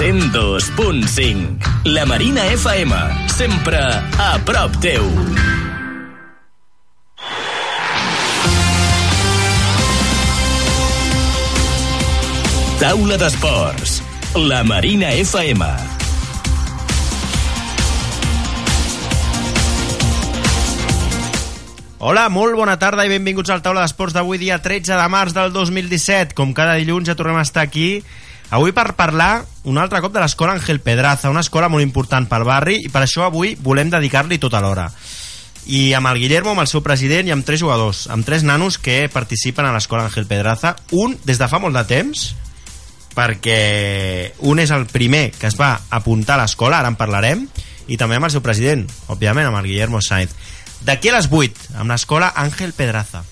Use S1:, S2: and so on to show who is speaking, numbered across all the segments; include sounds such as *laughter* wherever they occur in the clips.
S1: 102.5 La Marina FM Sempre a prop teu Taula d'esports La Marina FM
S2: Hola, molt bona tarda i benvinguts al Taula d'Esports d'avui dia 13 de març del 2017. Com cada dilluns ja tornem a estar aquí Avui per parlar un altre cop de l'escola Ángel Pedraza, una escola molt important pel barri i per això avui volem dedicar-li tota l'hora. I amb el Guillermo, amb el seu president i amb tres jugadors, amb tres nanos que participen a l'escola Ángel Pedraza. Un des de fa molt de temps, perquè un és el primer que es va apuntar a l'escola, ara en parlarem, i també amb el seu president, òbviament, amb el Guillermo Sainz. D'aquí a les 8, amb l'escola Ángel Pedraza.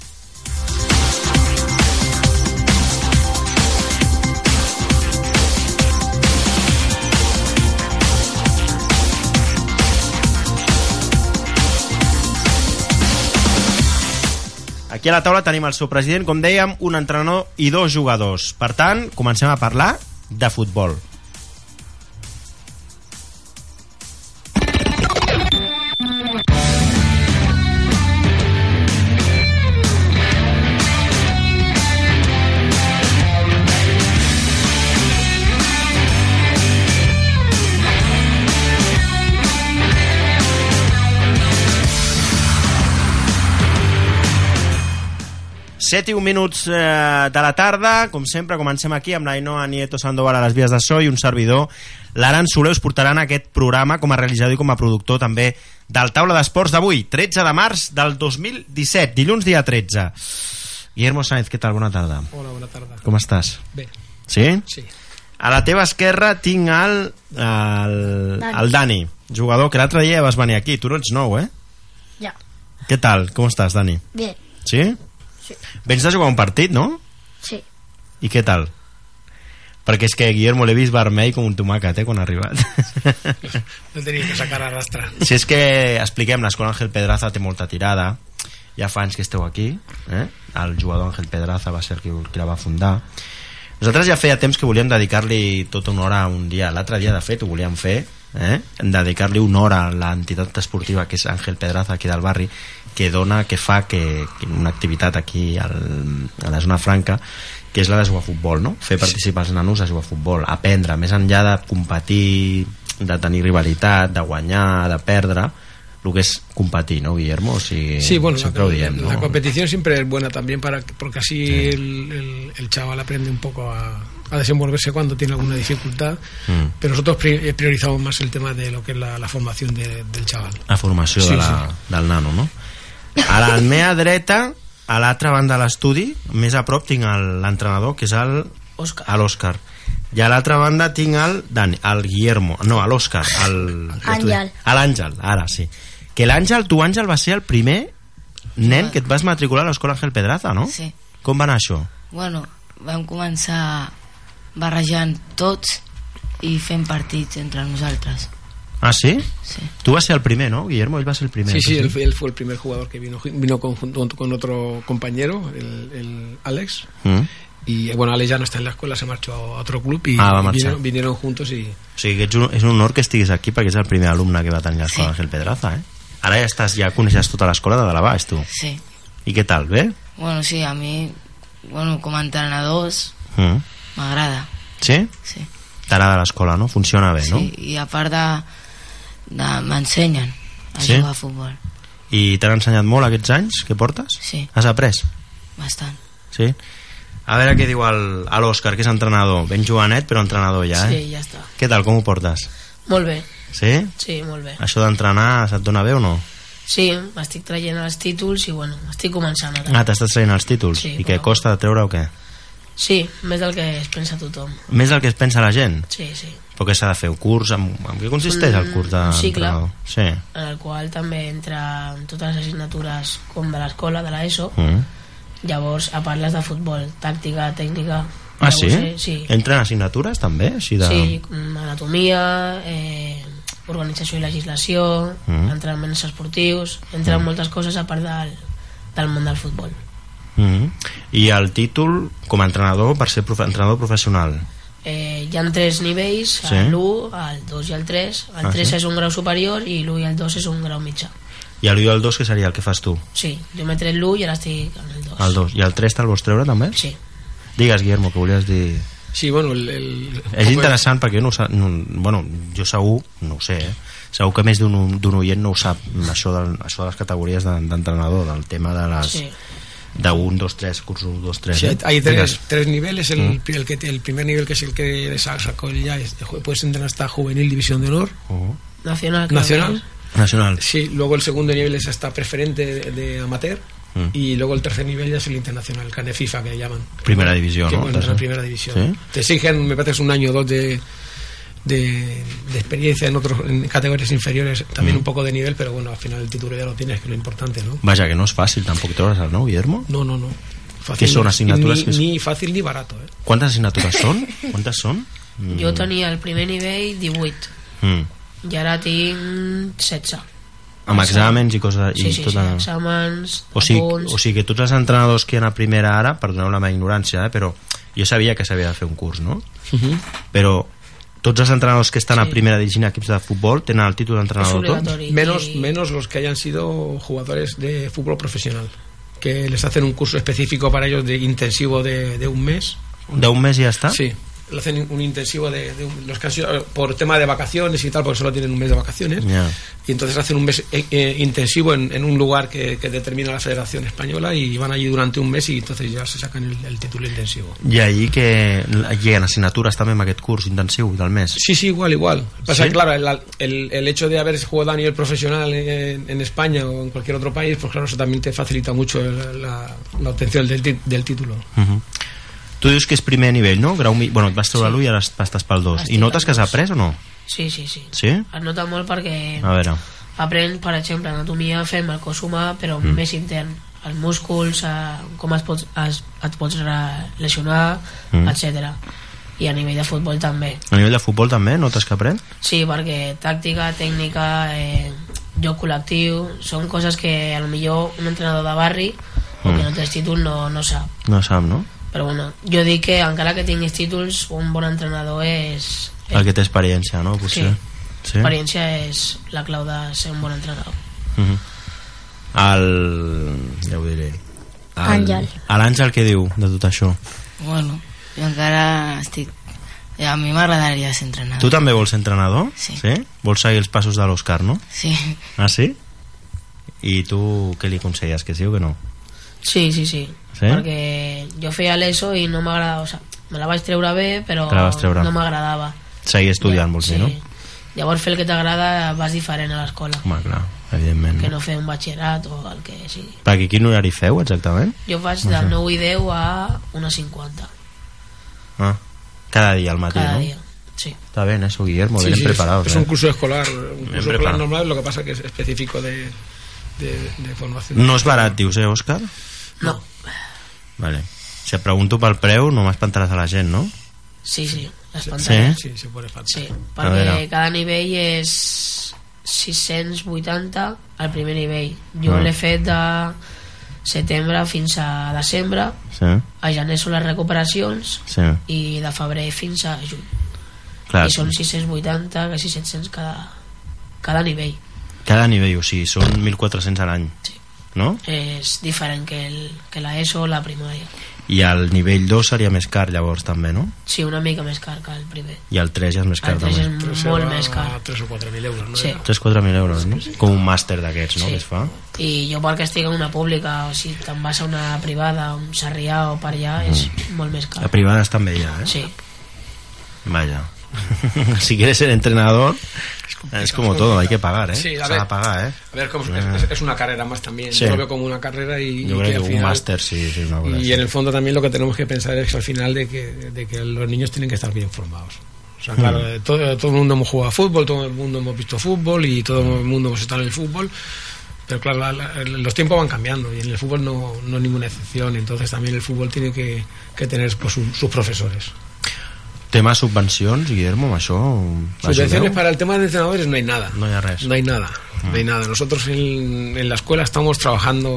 S2: Aquí a la taula tenim el seu president, com dèiem, un entrenador i dos jugadors. Per tant, comencem a parlar de futbol. Set i un minuts eh, de la tarda, com sempre, comencem aquí amb l'Ainoa Nieto Sandoval a les vies de so i un servidor, l'Aran Soler, us portaran aquest programa com a realitzador i com a productor també del Taula d'Esports d'avui, 13 de març del 2017, dilluns dia 13. Guillermo Sáenz, què tal? Bona tarda.
S3: Hola, bona tarda.
S2: Com estàs?
S3: Bé,
S2: Sí?
S3: sí.
S2: A la teva esquerra tinc el, el, el Dani, jugador que l'altre dia vas venir aquí. Tu no ets nou, eh?
S4: Ja,
S2: Què tal? Com estàs, Dani?
S4: bé,
S2: Sí?
S4: sí,
S2: Vens de jugar un partit, no?
S4: sí.
S2: I què tal? Perquè és que Guillermo l'he vist vermell com un tomàquet, eh, quan ha arribat.
S3: *laughs* No tenia que sacar a rastre.
S2: si és que, expliquem, l'escola Ángel Pedraza té molta tirada, ja fa anys que esteu aquí, eh? el jugador Ángel Pedraza va ser el que, qui la va fundar. Nosaltres ja feia temps que volíem dedicar-li tota una hora un dia, l'altre dia de fet ho volíem fer, eh? dedicar-li una hora a l'entitat esportiva que és Ángel Pedraza aquí del barri, que dona, que fa que, que una activitat aquí al, a la zona franca que és la de jugar a futbol, no? Fer participar els nanos a jugar a futbol, aprendre, més enllà de competir, de tenir rivalitat, de guanyar, de perdre, el que es competir, ¿no, Guillermo? O sigui,
S3: Sí, bueno, la,
S2: siempre ho diem,
S3: la
S2: no?
S3: competición siempre es buena también para porque así el, el- el chaval aprende un poco a, a desenvolverse cuando tiene alguna dificultad.
S2: Mm.
S3: Pero nosotros pri- eh, priorizamos más el tema de lo que es la, la formación de- del chaval.
S2: La formació
S3: Sí,
S2: de la, del nano, no? A la meva dreta, a l'altra banda de l'estudi, més a prop tinc el- l'entrenador, que és el... Òscar. A l'Òscar. I a l'altra banda tinc el Dani, el Guillermo, no, a l'Òscar, el...
S4: Àngel.
S2: A l'Àngel, ara sí. Que l'Àngel, tu Àngel, va ser el primer nen que et vas matricular a l'escola Ángel Pedraza, no?
S5: Sí.
S2: Com va anar això?
S5: Bueno, vam començar barrejant tots i fent partits entre nosaltres.
S2: Ah, sí?
S5: Sí.
S2: Tu vas ser el primer, no, Guillermo? Ell va ser el primer.
S3: Sí, sí,
S2: el
S3: él, fue- él fue el primer jugador que vino, vino con, junto con otro compañero, el, el Alex.
S2: Mm.
S3: Y eh, bueno, Alex ya no está en la escuela, se marchó a otro club y,
S2: Ah, va a
S3: y
S2: marchar.
S3: vinieron, vinieron juntos y...
S2: O sigui, que ets un, és un honor que estiguis aquí perquè és el primer alumne que va tenir l'escola Ángel Pedraza, eh? Ara ja estàs, ja coneixes tota l'escola de dalt a baix, tu.
S5: Sí.
S2: I què tal, bé?
S5: Bueno, sí, a mi, bueno, com a entrenadors,
S2: Mm.
S5: m'agrada,
S2: Sí?
S5: sí.
S2: T'agrada l'escola, no? Funciona bé,
S5: sí. I a part de... de m'ensenyen a
S2: Sí?
S5: jugar a futbol,
S2: no? I t'han ensenyat molt aquests anys que portes?
S5: Sí.
S2: Has après?
S5: bastant.
S2: Sí? A veure què diu el- a l'Òscar, que és entrenador. Ben jovenet, però entrenador ja, eh?
S6: Sí, ja està.
S2: Què tal, com ho portes?
S6: Molt bé,
S2: Sí?
S6: sí, molt bé.
S2: Això d'entrenar se't dona bé o no?
S6: Sí, m'estic traient els títols i bueno, estic començant ara.
S2: Ah, t'estàs traient els títols.
S6: Sí,
S2: I què,
S6: però-
S2: costa de treure o què?
S4: Sí, més del que es pensa tothom.
S2: Més del que es pensa la gent.
S4: Sí, sí.
S2: Però què s'ha de fer? Un curs? En, en què consisteix el curs de...
S4: Un cicle.
S2: entrenador? Sí.
S4: En el qual també entra en totes les assignatures com de l'escola, de l'ESO.
S2: Mm.
S4: Llavors, a parles de futbol, tàctica, tècnica...
S2: Ah,
S4: llavors,
S2: sí?
S4: eh, Sí.
S2: Entren assignatures també? Així de...
S4: Sí, com anatomia, eh, organització i legislació,
S2: Mm.
S4: mm. entrenaments esportius, entren moltes coses a part del, del món del futbol.
S2: Mm. I el títol com a entrenador per ser profe entrenador professional.
S4: Eh, hi ha tres nivells,
S2: Sí.
S4: sí. l'1, el 2 i el 3. El
S2: Ah,
S4: 3
S2: sí?
S4: és un grau superior i l'1 i el 2 és un grau mitjà.
S2: I el 1 i el 2 que seria el que fas tu?
S4: Sí, jo m'he tret l'1 i ara estic en el 2.
S2: El 2. I el 3 te'l vols treure també?
S4: Sí.
S2: Digues, Guillermo, que volies dir...
S3: Sí, bueno, el, el-
S2: És interessant perquè no, ho sa- no, bueno, jo segur, no ho sé, eh? segur que més d'un d'un oient no ho sap, això, del, això de les categories de- d'entrenador, del tema de les...
S4: Sí.
S2: De 1, 2, 3, curs 1, 2, 3.
S3: Sí, hay, hay
S2: eh? Digues.
S3: tres, tres niveles. El, pri- el, que, te- el primer nivel, que es el que les sacó ya, es- puedes entrar hasta Juvenil División de Honor
S2: Oh.
S4: Nacional. creo
S3: Nacional.
S2: Nacional.
S3: Sí, luego el segundo nivel es hasta preferente de, de amateur.
S2: Mm.
S3: Y luego el tercer nivel ya es el internacional, Cane FIFA, que le llaman.
S2: Primera división,
S3: que
S2: ¿no?
S3: bueno, es la
S2: Entonces,
S3: primera división.
S2: ¿sí?
S3: Te exigen, me parece, un año o dos de, de, de experiencia en otros en categorías inferiores, también un poco de nivel, pero bueno, al final el título ya lo tienes, que es lo importante, ¿no?
S2: Vaja, que no és fàcil tampoc treure's el nou, Guillermo.
S3: No, no, no.
S2: ¿Qué son asignaturas
S3: ni,
S2: que es-
S3: ni fácil ni barato, ¿eh?
S2: Quantes assignatures són?
S3: *laughs*
S2: Quantes són?
S4: que- Jo tenia el primer nivell 18
S2: Mm.
S4: i ara tinc 16.
S2: Amb exàmens i coses...
S4: Sí,
S2: i
S4: sí, sí,
S2: tota...
S4: exàmens,
S2: O sigui,
S4: apunts...
S2: o sigui que tots els entrenadors que hi ha a primera ara, perdoneu la meva ignorància, eh, però jo sabia que s'havia de fer un curs, no? Però tots els entrenadors que estan a
S4: Sí.
S2: primera divisió en equips de futbol tenen el títol
S4: és
S2: d'entrenador tots?
S4: obligatori.
S3: Menos,
S4: i-
S3: menos los que hayan sido jugadores de fútbol profesional, que les hacen un curso específico para ellos de intensivo de, de un mes.
S2: D'un mes i ja està?
S3: Sí, le hacen un intensivo de, de un- los que han sido por tema de vacaciones y tal, porque solo tienen un mes de vacaciones.
S2: Ja.
S3: Y entonces hacen un mes eh, eh, intensivo en, en un lugar que, que determina la Federación Española y van allí durante un mes y entonces ya se sacan el, el título intensivo.
S2: I ahir que lleguen assignatures també amb aquest curs intensiu del mes.
S3: Sí, sí, igual, igual. Pasa
S2: ¿Sí?
S3: que, claro, el, el- el hecho de haber jugado a nivel profesional en, en España o en cualquier otro país, pues claro, eso también te facilita mucho el- la, la obtención del, ti- del título.
S2: Uh -huh. Tu dius que és primer nivell, no? Grau, mi- bueno, et vas treure l'1 i ara est- estàs pel 2. I
S4: Estic
S2: notes
S4: al
S2: que has
S4: dos.
S2: après o no?
S4: Sí, sí, sí.
S2: Sí?
S4: Es nota molt perquè
S2: A veure.
S4: aprens, per exemple, anatomia, fem el cos humà, però mm. més intern. Els músculs, eh, com es pots, es, et pots re- lesionar,
S2: Mm.
S4: mm. etc. I a nivell de futbol també.
S2: A nivell de futbol també notes que aprens?
S4: Sí, perquè tàctica, tècnica, eh, joc col·lectiu, són coses que a lo millor un entrenador de barri o que no tens títol no, no sap.
S2: No sap, no?
S4: Però bueno, jo dic que encara que tinguis títols, un bon entrenador és...
S2: El que té experiència, no? Potser. Sí.
S4: L'experiència és la clau de ser un bon entrenador.
S2: Mhm. El... ja ho diré El-
S6: Àngel.
S2: a l'Àngel què diu de tot això?
S5: Bueno, jo encara estic... A mi m'agradaria ser entrenador.
S2: Tu també vols ser entrenador?
S5: Ah. Sí.
S2: Vols seguir els passos de l'Òscar, no?
S5: Sí,
S2: Ah, sí? I tu què li aconselles? Que sí o que no?
S4: Sí, sí, sí.
S2: Sí?
S4: Perquè jo feia l'ESO i no m'agradava, o sigui, me la vaig treure bé, però
S2: Te la vas treure.
S4: no m'agradava.
S2: Seguir estudiant, vols dir, no?
S4: Llavors fer el que t'agrada vas diferent a l'escola,
S2: Home, clar, evidentment.
S4: que no fer un batxillerat o el que sigui.
S2: Perquè quin horari feu, exactament?
S4: Jo faig del 9 i 10 a 1.50
S2: Ah. Cada dia al matí,
S4: cada
S2: no?
S4: dia. Sí.
S2: Está bien eso, Guillermo,
S3: Sí,
S2: bien
S3: sí,
S2: preparados.
S3: es, es
S2: eh?
S3: un curso escolar, un curso escolar
S2: preparado.
S3: normal, lo que pasa que es específico de, de, de formación.
S2: No és barat, dius, eh, Òscar?
S4: No,
S2: Vale. Si et pregunto pel preu, no m'espantaràs a la gent, no?
S4: sí, sí, les
S2: Sí?
S4: pantalles.
S3: Sí, se pone falta.
S4: Sí,
S2: A veure.
S4: perquè cada nivell és 680 al primer nivell. Jo
S2: Ah.
S4: l'he fet de setembre fins a desembre,
S2: Sí,
S4: a gener són les recuperacions
S2: sí.
S4: i de febrer fins a juny.
S2: Clar,
S4: I són 680, quasi 700 cada, cada nivell.
S2: cada nivell, o sigui, són 1.400 a l'any,
S4: Sí.
S2: no?
S4: És diferent que, el, que la ESO o la primària.
S2: I el nivell 2 seria més car, llavors, també, no?
S4: Sí, una mica més car que el primer.
S2: I el 3 ja és més car,
S4: El 3 és
S2: també.
S3: Entonces se
S4: molt
S3: va
S4: més car.
S3: a 3 o 4 mil euros, ¿no?
S4: Sí.
S3: Era.
S2: 3-4.000 euros, no? Com un màster d'aquests, no?, que es fa.
S4: I jo perquè estic en una pública, o si te'n vas a una privada, a un Sarrià o per allà, és molt més car.
S2: La Mm. privada està amb ella, eh?
S4: Sí,
S2: *laughs* Vaya. si quieres ser entrenador,
S3: complicado.
S2: Es como todo, hay que pagar, ¿eh?
S3: Sí, a
S2: Se
S3: ver.
S2: va a pagar, ¿eh?
S3: A ver, como
S2: Ah.
S3: es, es una carrera más también.
S2: Sí.
S3: Yo lo veo como una carrera y, y
S2: Yo creo
S3: al
S2: que un
S3: final-
S2: máster sí, sí, una cosa
S3: Y
S2: así.
S3: en el fondo también lo que tenemos que pensar es al final de que, de que los niños tienen que estar bien formados. O sea, claro, eh, todo, todo el mundo hemos jugado a fútbol, todo el mundo hemos visto fútbol y todo el mundo hemos estado en el fútbol. Pero claro, la- la- los tiempos van cambiando y en el fútbol no, no es ninguna excepción. Entonces también el fútbol tiene que, que tener pues, su- sus profesores.
S2: Tema subvencions, Guillermo, amb això...
S3: Subvenciones
S2: ajudeu?
S3: para el tema de entrenadores no hay nada.
S2: No hi ha res.
S3: No hay nada. No hay nada. Nosotros en, en la escuela estamos trabajando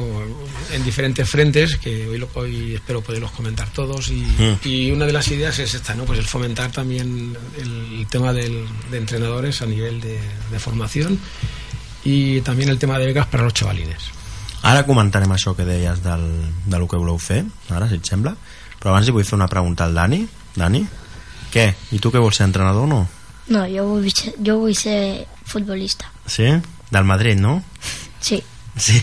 S3: en diferentes frentes que hoy, lo- hoy espero poderlos comentar todos. Y,
S2: Mm.
S3: y una de las ideas es esta, ¿no? Pues el fomentar también el tema del- de entrenadores a nivel de, de formación y también el tema de becas para los chavalines.
S2: Ara comentarem això que deies del, de lo que voleu fer, ara, si et sembla. Però abans li vull fer una pregunta al Dani. Dani, què? I tu què vols ser entrenador o no?
S6: No, yo voy, a ser- yo voy a ser futbolista.
S2: Sí? Del Madrid, no?
S6: Sí,
S2: *laughs* Sí.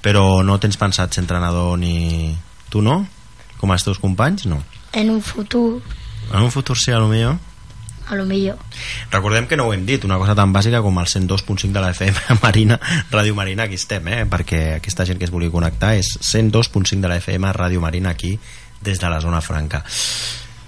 S2: Però no tens pensat ser entrenador ni... Tu no? Com els teus companys, no.
S6: en un futuro,
S2: En un futur sí, a lo millor.
S6: a lo mejor.
S2: Recordem que no ho hem dit, una cosa tan bàsica com el 102.5 de la FM *laughs* Marina, Ràdio Marina, aquí estem, eh? perquè aquesta gent que es vulgui connectar és 102.5 de la FM Ràdio Marina aquí des de la zona franca.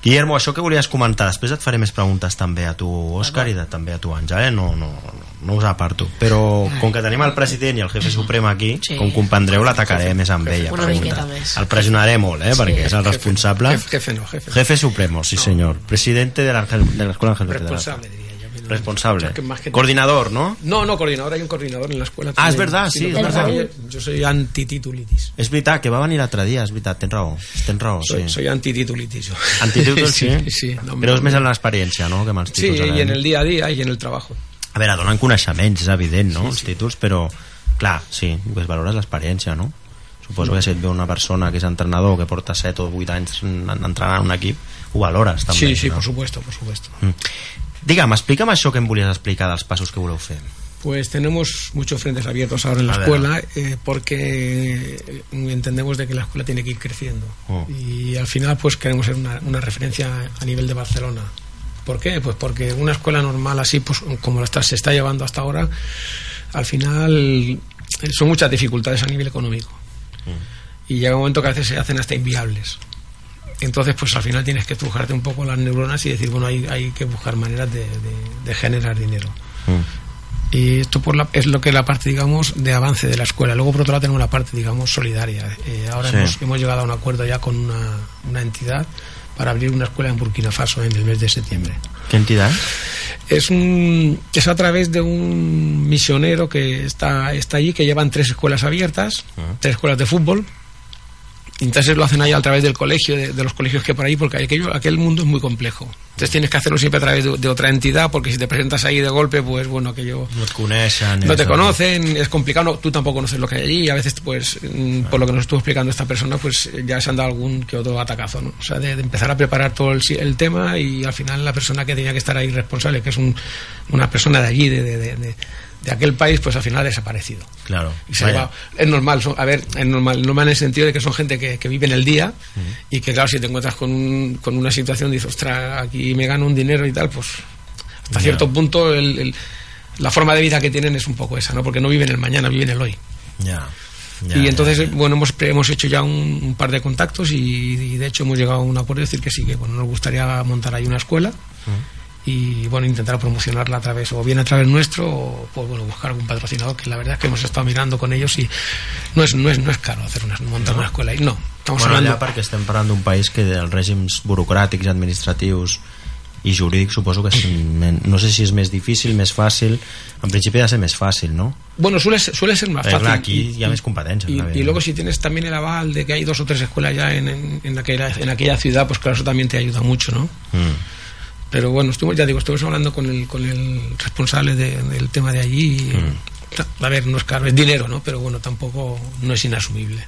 S2: Guillermo, això que volies comentar, després et faré més preguntes també a tu, Òscar, i de, també a tu, Àngel, eh? no, no, no, no us aparto. Però com que tenim el president i el jefe suprem aquí,
S4: Sí.
S2: com comprendreu, l'atacaré més amb ella.
S4: Una
S2: preguntes.
S4: miqueta més.
S2: El pressionaré molt, eh? perquè és el responsable.
S3: Jefe, jefe no, jefe.
S2: Jefe supremo, sí señor. Presidente de la, Ángel- de la Escuela Ángel Pérez de la-
S3: Responsable, diría yo. que no-
S2: Responsable.
S3: que más que-
S2: Coordinador, ¿no?
S3: No, no, coordinador, hay un coordinador en la escuela.
S2: Ah, es
S3: también.
S2: verdad, sí,
S3: lo
S2: es
S3: que pasa
S6: verdad.
S3: es que Yo, yo soy antititulitis.
S2: Es verdad, que va a venir otro día, es verdad, ten raó. Ten raó,
S3: Soy,
S2: sí.
S3: soy antititulitis. yo.
S2: Antídotos, sí.
S3: *laughs* sí, sí, no,
S2: Però és
S3: no,
S2: més
S3: no.
S2: en l'experiència, no?, que amb els
S3: Sí,
S2: títols. ara,
S3: y en
S2: eh?
S3: el día a día y en el trabajo.
S2: A veure, donen coneixements, és evident, no?, els títols, però, clar, sí, pues valores l'experiència, no? Suposo que si et ve una persona que és entrenador, que porta 7 o 8 anys en- entrenant un equip, ho valores, també.
S3: Sí, sí,
S2: no?
S3: por supuesto, por supuesto.
S2: Mm. Digue'm, explica'm això que em volies explicar dels passos que voleu fer.
S3: Pues tenemos muchos frentes abiertos ahora en la
S2: A ver.
S3: escuela eh, porque eh, entendemos de que la escuela tiene que ir creciendo
S2: Oh.
S3: y al final pues queremos ser una, una referencia a nivel de Barcelona. ¿Por qué? Pues porque una escuela normal así pues como la está, se está llevando hasta ahora, al final eh, son muchas dificultades a nivel económico y llega un momento que a veces se hacen hasta inviables. Entonces, pues al final tienes que trujarte un poco las neuronas y decir, bueno, hay, hay que buscar maneras de- de- de generar dinero.
S2: Mm.
S3: Y esto por la- es lo que es la parte, digamos, de avance de la escuela. Luego, por otro lado, tenemos la parte, digamos, solidaria. Eh, ahora
S2: Sí.
S3: hemos, hemos llegado a un acuerdo ya con una, una entidad para abrir una escuela en Burkina Faso en el mes de septiembre.
S2: Qué entidad?
S3: Es, un, es a través de un misionero que está, está allí, que llevan tres escuelas abiertas, tres escuelas de fútbol. Y Entonces lo hacen ahí a través del colegio, de, de los colegios que por ahí, porque aquello, aquel mundo es muy complejo. Entonces tienes que hacerlo siempre a través de, de otra entidad, porque si te presentas ahí de golpe, pues bueno, aquello...
S2: No et coneixen...
S3: No
S2: és
S3: te
S2: el-
S3: conocen, es complicado, no, tú tampoco conoces lo que hay allí y a veces, pues, mm, por lo que nos estuvo explicando esta persona, pues eh, ya se han dado algún que otro atacazo, ¿no? O sea, de, de empezar a preparar todo el, si- el tema y al final la persona que tenía que estar ahí responsable, que es un- una persona de allí, de, de- de- de- de aquel país, pues al final ha desaparecido.
S2: Claro.
S3: Y se
S2: vaya.
S3: va- Es normal, son- a ver, es normal, normal en el sentido de que son gente que, que vive en el día y que, claro, si te encuentras con, un- con una situación, dices, ostras, aquí me gano un dinero y tal, pues hasta cierto punto el- el- la forma de vida que tienen es un poco esa, ¿no? Porque no viven el mañana, viven el hoy.
S2: Ya. ya,
S3: y
S2: ya,
S3: entonces,
S2: ya.
S3: eh, bueno, hemos, pre- hemos hecho ya un, un par de contactos y, y, de hecho hemos llegado a un acuerdo de decir que sí, que bueno, nos gustaría montar ahí una escuela y bueno, intentar promocionarla a través, o bien a través nuestro, o pues bueno, buscar algún patrocinador, que la verdad es que hemos estado mirando con ellos y no es, no es, no es caro hacer una, montar una escuela. Y no, estamos
S2: Bueno, allà
S3: hablando...
S2: perquè estem parlant d'un país que els règims burocràtics, administratius i jurídics suposo que és, men- no sé si és més difícil, més fàcil en principi ha de ser més fàcil, no?
S3: Bueno, suele, ser- suele ser más
S2: Perquè
S3: fácil.
S2: clar, aquí
S3: y-
S2: hi ha més competència
S3: Y,
S2: clar,
S3: y luego
S2: evidentment.
S3: si tienes también el aval de que hay dos o tres escuelas ya en, en, en aquella, en aquella ciudad, pues claro, eso también te ayuda mucho, ¿no?
S2: mm.
S3: Pero bueno, estuvimos, ya digo, estuvimos hablando con el, con el responsable de- del tema de allí. y, ta- A ver, no es caro, es dinero, ¿no? Pero bueno, tampoco no es inasumible.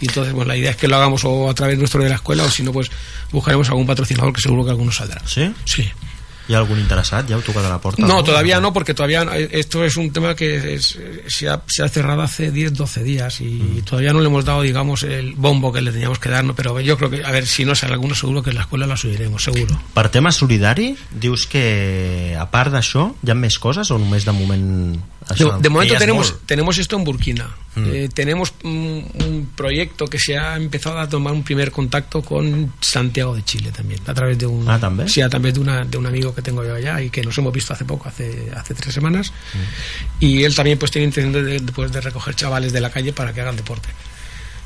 S3: Y entonces, bueno, la idea es que lo hagamos o a través nuestro de la escuela o si no, pues buscaremos algún patrocinador que seguro que alguno saldrá.
S2: Sí?
S3: Sí.
S2: Hi ha algun interessat? Ja heu tocat a la porta?
S3: No, todavía no, porque todavía no- esto es un tema que es- se, ha, se ha cerrado hace 10, 12 días y todavía no le hemos dado, digamos, el bombo que le teníamos que dar, ¿no? pero yo creo que, a ver, si no sale alguno, seguro que en la escuela la subiremos, seguro.
S2: Per tema solidari, dius que a part d'això hi ha més coses o només de moment...
S3: De,
S2: Això,
S3: de
S2: que
S3: momento
S2: ja és
S3: tenemos,
S2: molt?
S3: tenemos esto en Burkina.
S2: Mm.
S3: Eh, tenemos un, un proyecto que se ha empezado a tomar un primer contacto con Santiago de Chile también. A través de un,
S2: Ah, ¿también?
S3: Sí, a través de, una- de un amigo que tengo yo allá y que nos hemos visto hace poco, hace, hace tres semanas.
S2: Mm.
S3: Y él también pues tiene intención de, de, pues, de recoger chavales de la calle para que hagan deporte.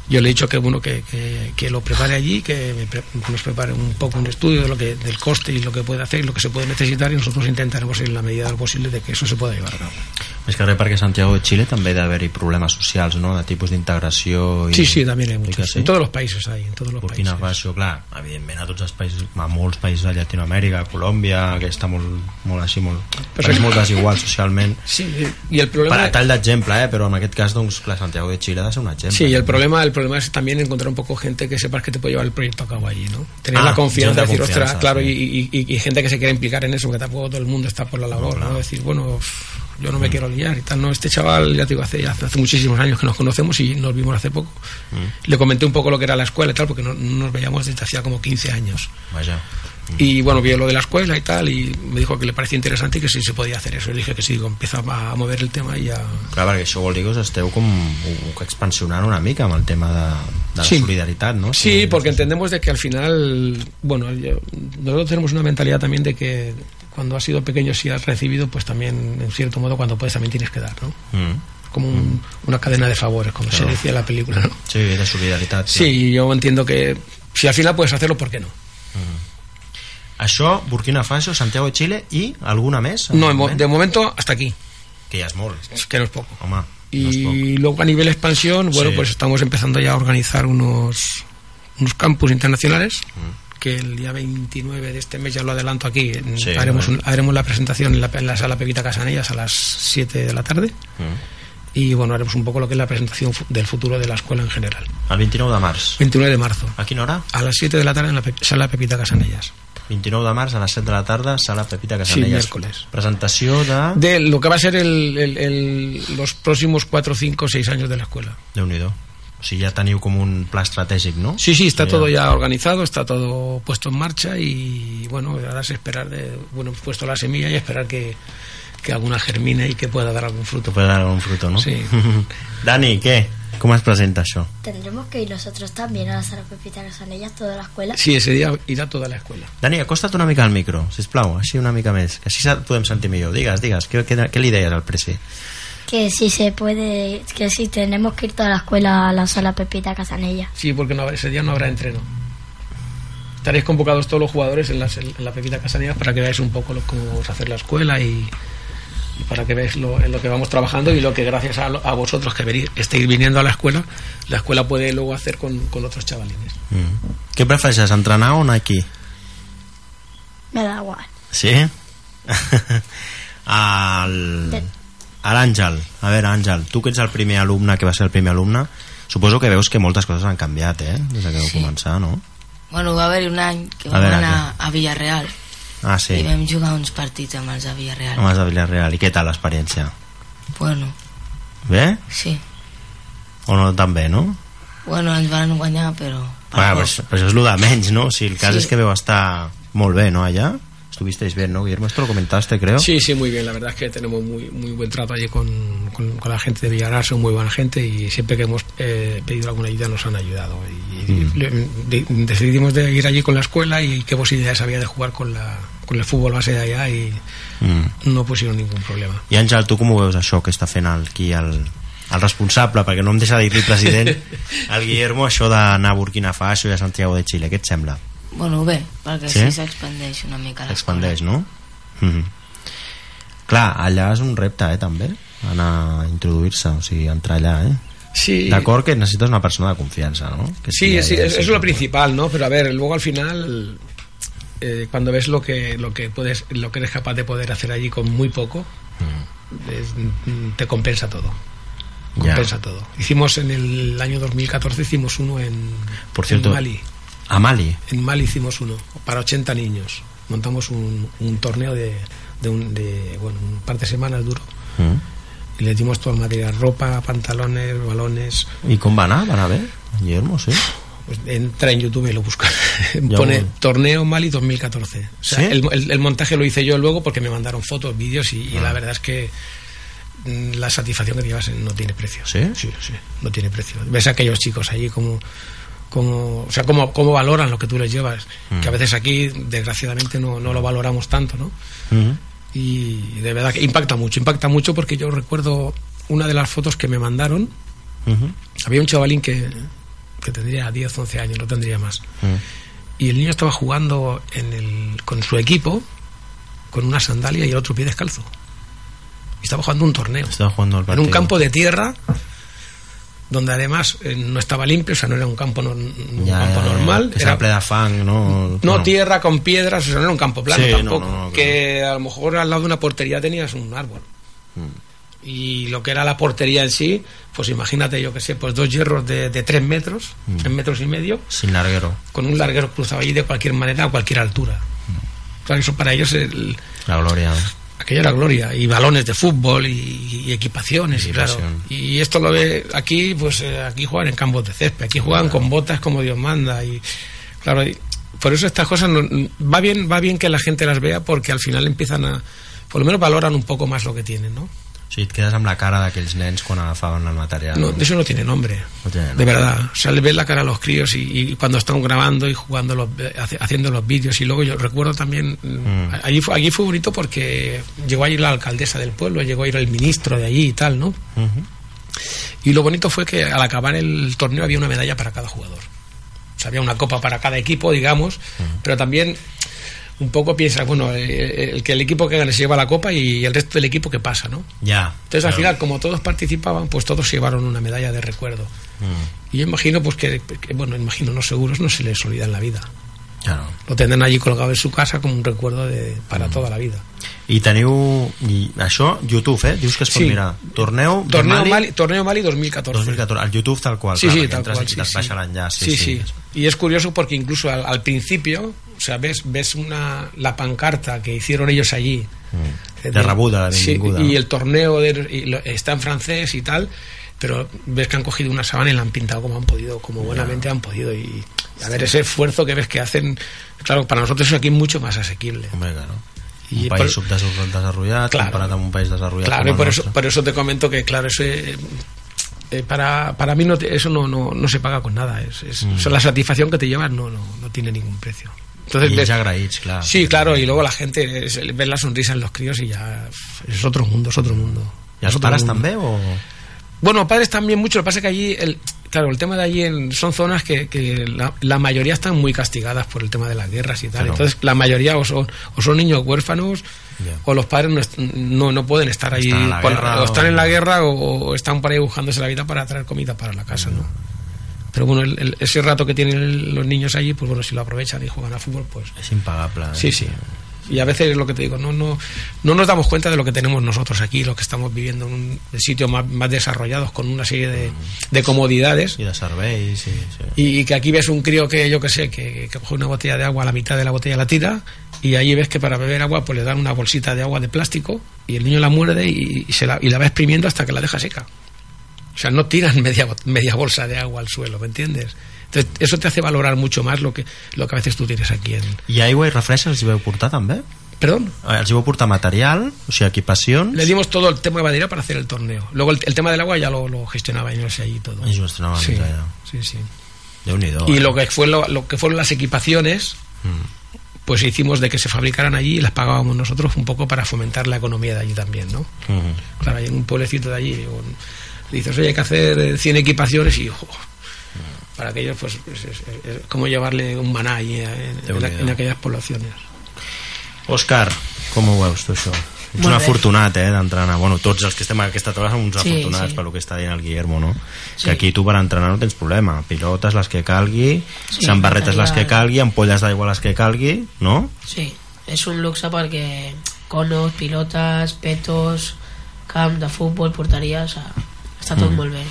S3: Yo le he dicho que bueno que, que- que lo prepare allí, que me pre- nos prepare un poco un estudio de lo que, del coste y lo que puede hacer y lo que se puede necesitar y nosotros intentaremos en la medida de lo posible de que eso se pueda llevar a cabo.
S2: Més que res perquè a Santiago de Xile també hi ha d'haver-hi problemes socials, no?, de tipus d'integració... i-
S3: Sí, sí, también hay
S2: I que
S3: muchos.
S2: sí?
S3: En todos los países hay, en todos los
S2: Burkina
S3: países.
S2: Faso, clar, evidentment a tots els països, a molts països de Llatinoamèrica, a Colòmbia, que està molt, molt així, molt,
S3: Però
S2: és
S3: sí.
S2: molt desigual socialment.
S3: Sí, eh, y el
S2: Per
S3: problema...
S2: a tall d'exemple, eh? però en aquest cas, doncs, clar, Santiago de Xile ha de ser un exemple.
S3: Sí, y el problema, el problema es también encontrar un poco gente que sepas que te puede llevar el proyecto a cabo allí, ¿no? Tener
S2: Ah,
S3: la confianza,
S2: gente de
S3: decir,
S2: confianza,
S3: ostras, claro,
S2: sí.
S3: y, y- y- y gente que se quiere implicar en eso, que tampoco todo el mundo está por la labor, ¿no? Decir, bueno, pff, yo no
S2: Mm.
S3: me quiero liar y tal, no, este chaval, ya te digo, hace, hace hace muchísimos años que nos conocemos y nos vimos hace poco.
S2: Mm.
S3: Le comenté un poco lo que era la escuela y tal, porque no, no nos veíamos desde hacía como 15 años.
S2: Vaja.
S3: Y bueno, vio lo de la escuela y tal, y me dijo que le parecía interesante y que sí se podía hacer eso. Y le dije que sí, digo, empieza a mover el tema y a.
S2: Clar, perquè això vol dir que us esteu com expansionant una mica amb el tema de, de la
S3: Sí.
S2: solidaritat, no?
S3: Eh, Sí, porque entendemos de que al final, bueno, yo- nosotros tenemos una mentalidad también de que cuando has sido pequeño, si has recibido, pues también, en cierto modo, cuando puedes también tienes que dar, ¿no?
S2: Mm.
S3: Como un- una cadena de favores, como se decía en la película, ¿no?
S2: Sí, de solidaritat. clar.
S3: Sí, yo entiendo que si al final puedes hacerlo, ¿por qué no?
S2: Això, Burkina Faso, Santiago de Xile i alguna més? en
S3: No,
S2: el
S3: mo-
S2: moment?
S3: de momento, hasta aquí,
S2: Que ja és molt.
S3: que no es poco.
S2: Home, no és poc.
S3: Y luego a nivel expansión, bueno,
S2: Sí.
S3: pues estamos empezando ya a organizar unos, unos campus internacionales. Que el día 29 de este mes, ya lo adelanto aquí, en-
S2: Sí,
S3: haremos,
S2: bueno.
S3: un- haremos la presentación en la, en la sala Pepita Casanellas a las 7 de la tarde. Y bueno, haremos un poco lo que es la presentación fu- del futuro de la escuela en general.
S2: El 29 de març.
S3: 29 de marzo,
S2: A quina hora?
S3: a las 7 de la tarde en la pe- sala Pepita Casanellas.
S2: 29 de març a les 7 de la tarda, sala Pepita Casanelles.
S3: Sí, miércoles.
S2: Presentació de... de...
S3: De lo que va a ser el- el- el- los próximos 4, 5, 6 años de la escuela.
S2: Déu-n'hi-do. O sigui, ja teniu com un pla estratègic, no?
S3: Sí, sí, está
S2: Ya.
S3: todo ya organizado, está todo puesto en marcha y bueno, ahora es esperar de, bueno, he puesto la semilla y esperar que, que alguna germine y que pueda dar algún
S2: Que
S3: fruto.
S2: puede dar un fruto, no?
S3: Sí.
S2: *laughs* Dani, què? Com es presenta això?
S6: Tendremos que ir nosotros también a la sala Pepita Casanellas, toda la escuela.
S3: Sí, ese día irá toda la escuela.
S2: Dani, acosta't una mica al micro, si plau, així una mica més, que així se- podem sentir millor. Digues, digues, què, què, què li deies al presi?
S6: Que si se puede, que si tenemos que ir toda la escuela a la sala Pepita Casanellas.
S3: Sí, porque no, habrá- ese día no habrá entreno. Estaréis convocados todos los jugadores en, las- en la Pepita Casanillas para que veáis un poco lo, cómo vamos a hacer la escuela y, y para que veáis lo, en lo que vamos trabajando y lo que gracias a, lo- a vosotros que venís, estáis viniendo a la escuela, la escuela puede luego hacer con, con otros chavalines.
S2: Mm. Què prefereixes, entrenar o anar aquí?
S6: Me da igual.
S2: Sí? *laughs* el... A l'Àngel, a veure, Àngel, tu que ets el primer alumne, que va ser el primer alumne, suposo que veus que moltes coses han canviat, eh? Des de que vau
S5: Sí.
S2: començar, no?
S5: Bueno, va haver un any que
S2: A
S5: vam
S2: veure,
S5: anar a Villarreal
S2: Ah, sí, Oh.
S5: i vam jugar uns partits amb els de Villarreal.
S2: amb els de Villarreal. I què tal l'experiència?
S5: Bueno,
S2: Bé?
S5: sí.
S2: O no tan bé, no?
S5: Bueno, ens van guanyar, però... per
S2: Bueno,
S5: poc.
S2: pues, pues això és el de menys, no? O sigui, el cas
S5: Sí.
S2: és que veu estar molt bé, no, allà? Estuvisteis bien, ¿no, Guillermo? Esto lo comentaste, creo.
S3: Sí, sí, muy bien. La verdad es que tenemos muy, muy buen trato allí con, con- con la gente de Villarreal, son muy buena gente y siempre que hemos eh, pedido alguna ayuda nos han ayudado. Y, y le- de- decidimos de ir allí con la escuela y qué posibilidades había de jugar con, la, con el fútbol base de allá y
S2: Mm.
S3: no pusieron ningún problema.
S2: I, Àngel, tu com ho veus, això que està fent el, aquí el, el responsable, perquè no em deixa dir-li
S3: *laughs*
S2: president, el Guillermo, això d'anar a Burkina Faso i a Santiago de Xile, què et sembla?
S5: Bueno, bé, perquè
S2: Sí?
S5: així s'expandeix una mica.
S2: S'expandeix, no? Mm -hmm. Clar, allà és un repte, eh, també, anar a introduir-se, o sigui, entrar allà, eh?
S3: Sí,
S2: D'acord que necessites una persona de confiança, no? Que
S3: Sí,
S2: estigui
S3: sí,
S2: ahí,
S3: es,
S2: sí,
S3: es
S2: sí.
S3: lo principal, ¿no? Pero a ver, luego al final, eh, cuando ves lo que, lo, que puedes, lo que eres capaz de poder hacer allí con muy poco, es- mm, te compensa todo.
S2: Ya.
S3: Compensa todo. Hicimos en el año 2014, hicimos uno en,
S2: Por cierto,
S3: en Mali.
S2: A Mali.
S3: En Mali hicimos uno, para 80 niños. montamos un, un torneo de, de, un, de, bueno, un par de semanas duro.
S2: Mhm.
S3: Y les dimos todo el material, ropa, pantalones, balones.
S2: I com va anar? Va anar bé? Guillermo, sí?
S3: Pues entra en YouTube y lo busca.
S2: *laughs* Ya
S3: Pone
S2: voy.
S3: Torneo Mali 2014. O sea,
S2: ¿Sí?
S3: el, el- el montaje lo hice yo luego porque me mandaron fotos, vídeos y,
S2: Ah.
S3: y la verdad es que mm, la satisfacción que te llevas no tiene precio.
S2: ¿Sí?
S3: Sí, sí, no tiene precio. Ves a aquellos chicos allí como como o sea cómo, cómo valoran lo que tú les llevas que a veces aquí desgraciadamente no, no lo valoramos tanto no
S2: Mm.
S3: y de verdad que impacta mucho impacta mucho porque yo recuerdo una de las fotos que me mandaron
S2: Mhm.
S3: había un chavalín que, que tendría 10, 11 años, no tendría más.
S2: Mhm.
S3: Y el niño estaba jugando en el, con su equipo, con una sandalia y el otro pie descalzo. Y estaba jugando un torneo.
S2: Estaba jugando al
S3: en
S2: partido.
S3: un campo de tierra, donde además eh, no estaba limpio, o sea, no era un campo, no- un
S2: Ja,
S3: campo
S2: ja, ja,
S3: normal.
S2: Que
S3: era-
S2: era ple de fang, no...
S3: no, tierra con piedras, o sea, no era un campo plano
S2: Sí, no,
S3: tampoco.
S2: no, no,
S3: Que a lo mejor al lado de una portería tenías un árbol.
S2: Mm.
S3: Y lo que era la portería en sí, pues imagínate, yo que sé, pues dos hierros de, de tres metros,
S2: Mm.
S3: tres metros y medio,
S2: Sin larguero.
S3: con un larguero cruzado allí de cualquier manera, a cualquier altura. O sea, eso para ellos el-
S2: La gloria.
S3: aquello era gloria. Y balones de fútbol y, y equipaciones, y claro.
S2: Equipación.
S3: Y esto lo ve aquí, pues eh, aquí juegan en campos de césped, aquí juegan con botas como Dios manda. Y claro, y por eso estas cosas no- va, bien, va bien que la gente las vea porque al final empiezan a, por lo menos valoran un poco más lo que tienen, ¿no?
S2: O sigui, et quedes amb la cara d'aquells nens quan agafaven el material.
S3: No, eso no tiene nombre.
S2: No tiene nombre.
S3: De verdad. O sea, le ves la cara a los críos y, y cuando están grabando y jugando, los, eh, hace- haciendo los vídeos. Y luego yo recuerdo también. mm, Allí, fue, allí fue bonito porque llegó a ir la alcaldesa del pueblo, llegó a ir el ministro de allí y tal, ¿no?
S2: Mhm.
S3: Y lo bonito fue que al acabar el torneo había una medalla para cada jugador. O sea, había una copa para cada equipo, digamos, pero también un poco piensas, bueno, el, el que el equipo que gane se lleva la copa y el resto del equipo que pasa, ¿no?
S2: Ja.
S3: Entonces al final, como todos participaban, pues todos llevaron una medalla de recuerdo.
S2: Mm.
S3: Y yo imagino, pues que, que, bueno, imagino, no seguros no se les olvida en la vida.
S2: Claro.
S3: Lo tendrán allí colgado en su casa como un recuerdo de,
S2: Mm.
S3: para toda la vida.
S2: I teniu... I això, YouTube, eh? Dius que es pot
S3: Sí.
S2: mirar. Torneo, de
S3: Torneo
S2: Mali,
S3: Mali, torneo Mali 2014.
S2: 2014. Al YouTube tal qual.
S3: Sí,
S2: clar,
S3: sí,
S2: perquè
S3: tal
S2: entres
S3: cual.
S2: i
S3: Sí,
S2: t'has
S3: sí.
S2: baixat l'enllaç.
S3: Sí, sí. Y es curioso porque incluso al, al principio, o sea, ves, ves una, la pancarta que hicieron ellos allí. Mm. Eh,
S2: De rebuda, de
S3: Sí,
S2: benvinguda.
S3: y el torneo de- y lo- está en francés y tal, pero ves que han cogido una sábana y la han pintado como han podido, como buenamente han podido. Y, y a ver, ese esfuerzo que ves que hacen, claro, para nosotros eso aquí es mucho más asequible.
S2: Hombre, claro.
S3: I
S2: Un
S3: per-
S2: país subdesarrollat desenvolupat
S3: Claro.
S2: comparat amb un país desenvolupat
S3: Claro,
S2: com
S3: y
S2: el
S3: por
S2: nostre.
S3: eso, por eso te comento que, claro, ese, eh, eh, para, para mí no te- eso no, no, no se paga con nada. Es, es-
S2: Mm.
S3: o sea, la satisfacción que te llevas no, no, no tiene ningún precio. Entonces,
S2: I
S3: ves-
S2: ells agraïts, clar.
S3: sí, claro, y luego la gente es- ves la sonrisa en los críos y ya es otro mundo, es otro mundo.
S2: I els
S3: Es otro
S2: pares
S3: mundo.
S2: també o...?
S3: Bueno, padres también mucho. Lo que pasa es que allí, el, claro, el tema de allí en- son zonas que, que la, la mayoría están muy castigadas por el tema de las guerras y tal.
S2: Claro.
S3: Entonces, la mayoría o son, o son niños huérfanos
S2: Ya.
S3: o los padres no, est- no, no pueden estar allí.
S2: Están en la
S3: por-
S2: guerra
S3: o están
S2: o-
S3: en la guerra o, o están por ahí buscándose la vida para traer comida para la casa, ¿no? Pero bueno, el- el- ese rato que tienen los niños allí, pues bueno, si lo aprovechan y juegan a fútbol, pues
S2: És impagable. Eh?
S3: Sí, sí. Y a veces es lo que te digo, no, no, no nos damos cuenta de lo que tenemos nosotros aquí, lo que estamos viviendo en un sitio más, más desarrollados, con una serie de, de comodidades.
S2: I de serveis, sí, sí.
S3: Y, y que aquí ves un crío que, yo que sé, que, que coge una botella de agua, la mitad de la botella la tira, y ahí ves que para beber agua pues le dan una bolsita de agua de plástico, y el niño la muerde y, y se la, y la va exprimiendo hasta que la deja seca. O sea, no tiran *laughs* media, bo- media bolsa de agua al suelo, ¿me entiendes? Entonces, eso te hace valorar mucho más lo que, lo que a veces tú tienes aquí en...
S2: I aigua i refresa els hi vau portar també?
S3: Perdón.
S2: Eh, Els hi vau portar material, o sigui, equipacions...
S3: Le dimos todo el tema de madera para hacer el torneo. Luego el, el tema del agua ya lo, lo gestionaba y no sé allí todo.
S2: Ells ho estrenaven
S3: Sí,
S2: sí. allà.
S3: sí, sí.
S2: Déu-n'hi-do.
S3: Y
S2: eh?
S3: lo que fue lo, lo que fueron las equipaciones,
S2: Mm.
S3: pues hicimos de que se fabricaran allí y las pagábamos nosotros un poco para fomentar la economía de allí también, ¿no?
S2: Mhm.
S3: Claro, hay en un pueblecito de allí un- dices, oye, hay que hacer eh, 100 equipaciones y ojo, para aquellos pues es, es- es como llevarle un maná allí eh, en- en la- en aquellas poblaciones.
S2: Òscar, com ho veus tu això? Ets
S4: Molt
S2: un
S4: bé.
S2: afortunat, eh, d'entrenar. Bueno, tots els que estem a aquesta taula som uns
S4: Sí,
S2: afortunats
S4: sí.
S2: pel que està dient el Guillermo, no?
S4: Sí.
S2: Que aquí tu per entrenar no tens problema. Pilotes les que calgui,
S4: Sí,
S2: sambarretes les que
S4: material.
S2: calgui, ampolles d'aigua les que calgui, no?
S4: Sí, és un luxe perquè conos, pilotes, petos, camp de futbol, porteria, o sigui, està tot
S2: Mm.
S4: molt bé.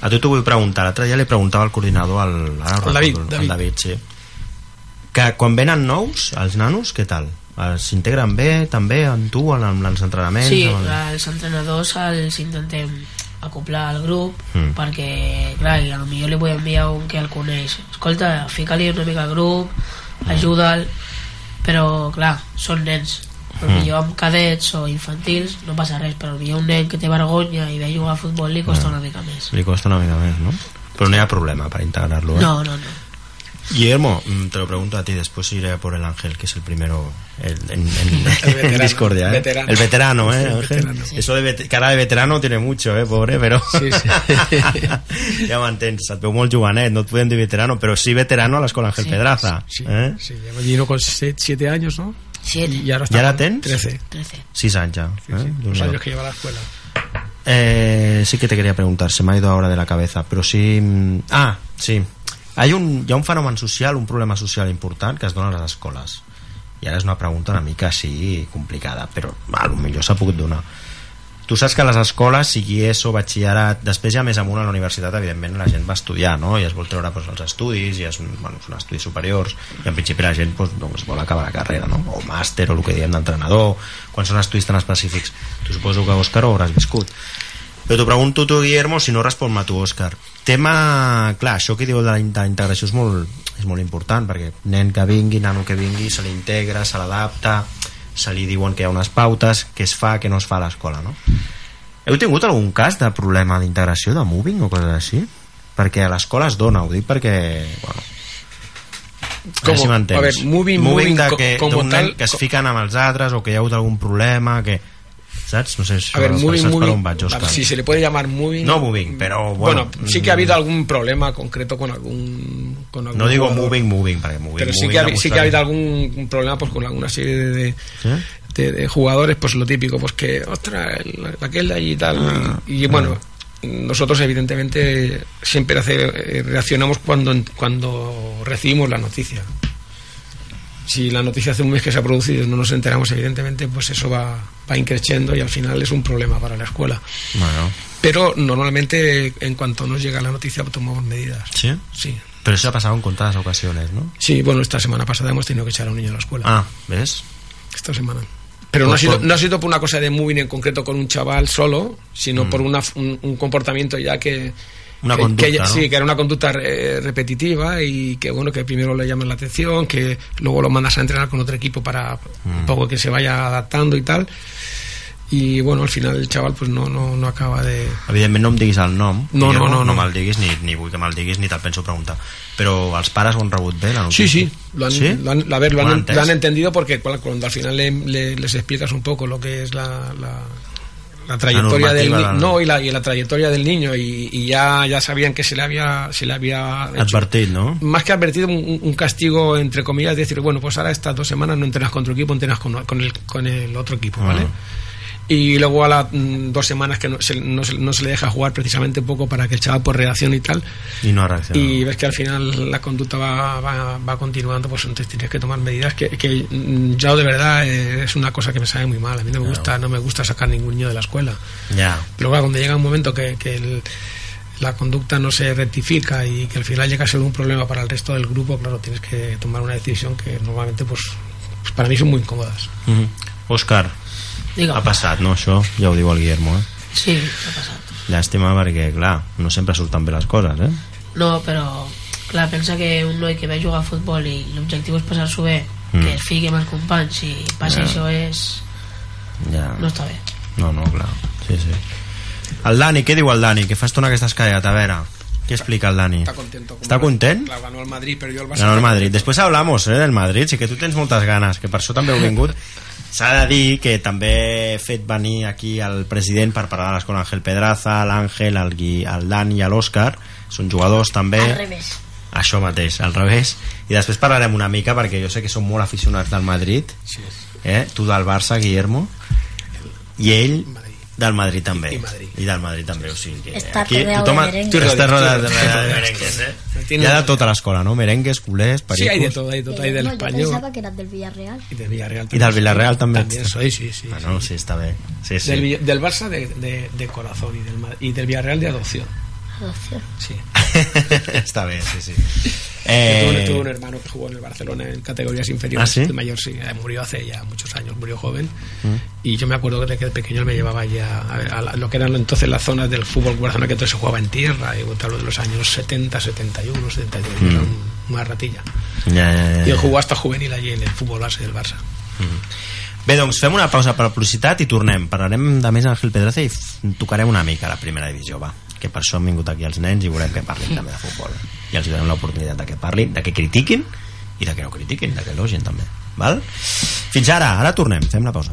S2: A tu t'ho vull preguntar. L'altre dia li preguntava al coordinador, al, ara no
S3: Al David,
S2: recordo, al
S3: David.
S2: David sí. que quan venen nous, els nanos, què tal? Eh, S'integren bé també amb tu, en, en els entrenaments?
S4: Sí,
S2: amb el-
S4: els entrenadors els intentem acoplar al grup
S2: Mm.
S4: perquè, clar, i potser li vull enviar un que el coneix. Escolta, fica-li una mica al grup,
S2: Mm.
S4: ajuda'l, però, clar, són nens.
S2: Mm.
S4: Potser amb cadets o infantils no passa res, però potser un nen que té vergonya i ve a jugar a futbol li
S2: Mm.
S4: costa una mica més.
S2: Li costa una mica més, no? Però no hi ha problema per integrarlo, eh?
S4: No, no, no.
S2: Guillermo, mm, te lo pregunto a ti, después iré a por el Ángel, que es el primero el- en, en- en
S3: veterano,
S2: Discordia. ¿eh?
S3: veterano.
S2: El veterano, ¿eh?
S3: El
S2: Ángel?
S3: veterano.
S2: Eso de vete- cara de veterano tiene mucho, ¿eh? Pobre, pero...
S3: Sí,
S2: *laughs*
S3: sí.
S2: ja m'entens, et veu molt jovenet, no et podem dir veterano, però sí veterano a l'escola Ángel Pedraza.
S3: Sí,
S2: ¿eh?
S3: sí, ya vino con 7 años, ¿no?
S5: Siete,
S3: Y ahora está
S2: ¿Y ahora
S3: con
S2: tens?
S3: 13.
S5: 13.
S2: Sis anys ja.
S3: Sí,
S2: ¿eh?
S3: sí,
S2: Déu-n'hi-do.
S3: Los años que lleva la escuela.
S2: Eh, sí que te quería preguntar, se me ha ido ahora de la cabeza, pero sí... mm, Ah, sí. Hi ha, un, hi ha un fenomen social, un problema social important que es dona a les escoles. I ara és una pregunta una mica així complicada, però a lo millor s'ha pogut donar. Tu saps que a les escoles, sigui ESO, batxillerat, després ja més amunt a la universitat, evidentment la gent va estudiar, no? I es vol treure doncs, els estudis, i és un, bueno, són estudis superiors, i en principi la gent doncs, doncs, vol acabar la carrera, no? O màster, o el que diem d'entrenador, quan són estudis tan específics. Tu suposo que, Òscar, ho hauràs viscut. Però t'ho pregunto tu, Guillermo, si no respon-me tu, Òscar. Tema, clar, això que diu de la in- de la integració és molt, és molt important, perquè nen que vingui, nano que vingui, se li integra, se l'adapta, se li diuen que hi ha unes pautes, que es fa, que no es fa a l'escola, no? Heu tingut algun cas de problema d'integració, de moving o coses així? Perquè a l'escola es dona, ho dic perquè... Bueno, a veure
S3: Com-
S2: m'entens.
S3: a veure, moving, moving
S2: de
S3: co-
S2: que,
S3: com
S2: d'un nen
S3: tal,
S2: que es
S3: co-
S2: fiquen amb els altres o que hi ha hagut algun problema que... Saps? No sé si
S3: A ver,
S2: saps
S3: moving,
S2: per
S3: moving.
S2: on vaig, Òscar.
S3: Si se le puede llamar moving. mm,
S2: No moving, pero bueno. mm.
S3: Bueno, sí que ha habido algún problema concreto con algún. Con algún
S2: No digo
S3: jugador.
S2: moving, moving, para que moving.
S3: Pero sí
S2: moving
S3: que, ha,
S2: la
S3: sí que ha habido
S2: mostraré.
S3: algún problema pues con alguna serie de, de-
S2: ¿Sí?
S3: de- de jugadores, pues lo típico, pues que, ostras, el- aquel de allí y tal. y, y bueno, nosotros evidentemente siempre hace- eh, reaccionamos cuando, cuando recibimos la noticia. Si la noticia hace un mes que se ha producido y no nos enteramos, evidentemente, pues eso va, va increciendo y al final es un problema para la escuela.
S2: Bueno,
S3: Pero normalmente, en cuanto nos llega la noticia, tomamos medidas.
S2: sí.
S3: Sí.
S2: Pero eso ha pasado en contadas ocasiones, ¿no?
S3: Sí, bueno, esta semana pasada hemos tenido que echar a un niño a la escuela.
S2: Ah, ¿ves?
S3: esta semana. Pero no ha,
S2: Pues
S3: sido,
S2: por-
S3: no ha sido por una cosa de moving en concreto con un chaval solo, sino por una, un, un comportamiento ya que...
S2: Mm. Una
S3: que-
S2: conducta,
S3: que ya-
S2: ¿no?
S3: Sí, que era una conducta eh, repetitiva y que bueno, que primero le llaman la atención, que luego lo mandas a entrenar con otro equipo para
S2: Mm.
S3: un poco que se vaya adaptando y tal. Y bueno, al final el chaval pues no, no, no acaba de...
S2: Evidentment no em diguis el nom
S3: No,
S2: Guillermo,
S3: no, no,
S2: no
S3: no.
S2: me'l diguis, ni, ni vull que me'l diguis ni te'l penso preguntar però els pares ho han rebut bé la notícia?
S3: Sí, sí, lo han,
S2: sí?
S3: lo han- a ver, lo han,
S2: entès?
S3: lo han entendido porque cual- cuando al final le- le- les explicas un poco lo que es la, la, la trayectoria del
S2: normativa,
S3: ni-
S2: la-
S3: no y la, y la trayectoria del niño y, y ya, ya sabían que se le había se le había hecho-
S2: advertit, no?
S3: más que advertido un, un castigo entre comillas decir bueno pues ahora estas dos semanas no entrenas con tu equipo entrenas con, con el con el otro equipo
S2: Ah.
S3: vale y luego a las mm, dos semanas que no se, no, se, no se le deja jugar precisamente un poco para que el chaval por reacción y tal
S2: i no ha reaccionat
S3: y ves que al final la conducta va, va, va continuando, pues entonces tienes que tomar medidas que, que mm, yo de verdad eh, es una cosa que me sabe muy mal. A mí no me gusta, no me gusta sacar ningún niño de la escuela.
S2: ja,
S3: Pero claro, cuando llega un momento que, que el- la conducta no se rectifica y que al final llega a ser un problema para el resto del grupo, claro, tienes que tomar una decisión que normalmente, pues, pues para mí son muy incómodas.
S2: mm. Òscar,
S4: Digue'm.
S2: ha passat, no, això? Ja ho diu el Guillermo, eh?
S4: Sí, ha passat.
S2: Llàstima perquè, clar, no sempre surten bé les coses, eh?
S4: No, però, clar, pensa que un noi que ve a jugar a futbol i l'objectiu és passar-s'ho bé,
S2: Mm.
S4: que es fiqui amb els companys i passi
S2: Ja.
S4: això és...
S2: Ja.
S4: no està bé.
S2: No, no, clar. Sí, sí. El Dani, què diu el Dani? Que fa estona que estàs callat, a veure. Què explica el Dani?
S3: Está contento.
S2: ¿Está content?
S3: Claro, ganó el Madrid, pero yo el
S2: Ganó el Madrid. Després hablamos eh, del Madrid, sí que tu tens moltes ganes, que per això també heu vingut. S'ha de dir que també he fet venir aquí el president per parlar de l'escola Ángel Pedraza, l'Àngel, el, Gui, el Dani i l'Òscar. Són jugadors també.
S6: Al revés.
S2: Això mateix, al revés. I després parlarem una mica, perquè jo sé que som molt aficionats del Madrid. Sí. Eh? Tu del Barça, Guillermo. I ell del Madrid també.
S3: I Madrid.
S2: I del Madrid també, o sigui que...
S6: Està rodeado de merengues.
S2: Tu estàs
S3: Tú
S2: rodeado de,
S3: rodeado,
S2: rodeado de
S3: tú
S2: merengues, eh?
S3: Tiene-
S2: Hi ha de tota l'escola, no? Merengues, culers,
S3: Sí,
S2: pericos...
S3: hay de todo, hay de todo, hay del
S6: Eh, no, Yo
S3: español.
S6: pensaba que eras del Villarreal.
S3: Y del Villarreal
S2: I del Villarreal també.
S3: También soy, sí, sí.
S2: Ah, no, sí, està bé. Sí, sí. *laughs*
S3: Del, Villa- del Barça de, de- de corazón y del, Ma- y del Villarreal de adopción.
S6: Adopción.
S3: Sí.
S2: Está bé, sí, sí.
S3: Yo tuve-
S2: Eh,
S3: tuve un hermano que jugó en el Barcelona en categorías inferiores.
S2: ¿Ah, sí? Mm.
S3: de mayor, sí. Eh, Murió hace ya muchos años, murió joven. Y yo me acuerdo de que de pequeño él me llevaba ya a, ver, a la- lo que eran entonces las zonas del fútbol Barcelona que entonces se jugaba en tierra. Y te hablo de los años 70, 71, 72.
S2: Mm.
S3: Era un- una ratilla.
S2: ja, ja, ja.
S3: Y él jugó hasta juvenil allí en el fútbol base del Barça.
S2: Bé, doncs fem una pausa per publicitat i tornem. Parlarem de més Ángel Pedraza i f- tocarem una mica la primera divisió, va. Que per això han vingut aquí els nens i volem que parlin també de futbol. I els donem l'oportunitat de que parlin, de que critiquin i de que no critiquin, de que elogin també. Val? Fins ara, ara tornem, fem la pausa.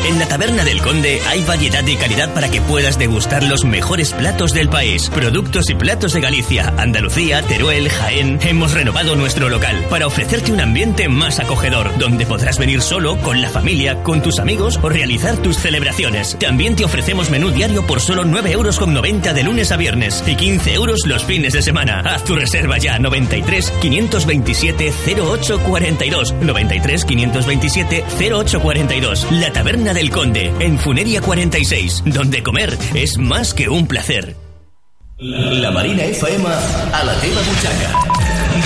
S1: En la Taberna del Conde hay variedad y calidad para que puedas degustar los mejores platos del país. Productos y platos de Galicia, Andalucía, Teruel, Jaén. Hemos renovado nuestro local para ofrecerte un ambiente más acogedor, donde podrás venir solo, con la familia, con tus amigos o realizar tus celebraciones. También te ofrecemos menú diario por solo 9,90 euros de lunes a viernes y 15 euros los fines de semana. Haz tu reserva ya 93 527 0842 93 527 0842 La Taberna del Conde en Funeria 46, donde comer es más que un placer. La Marina FM a la teva butxaca.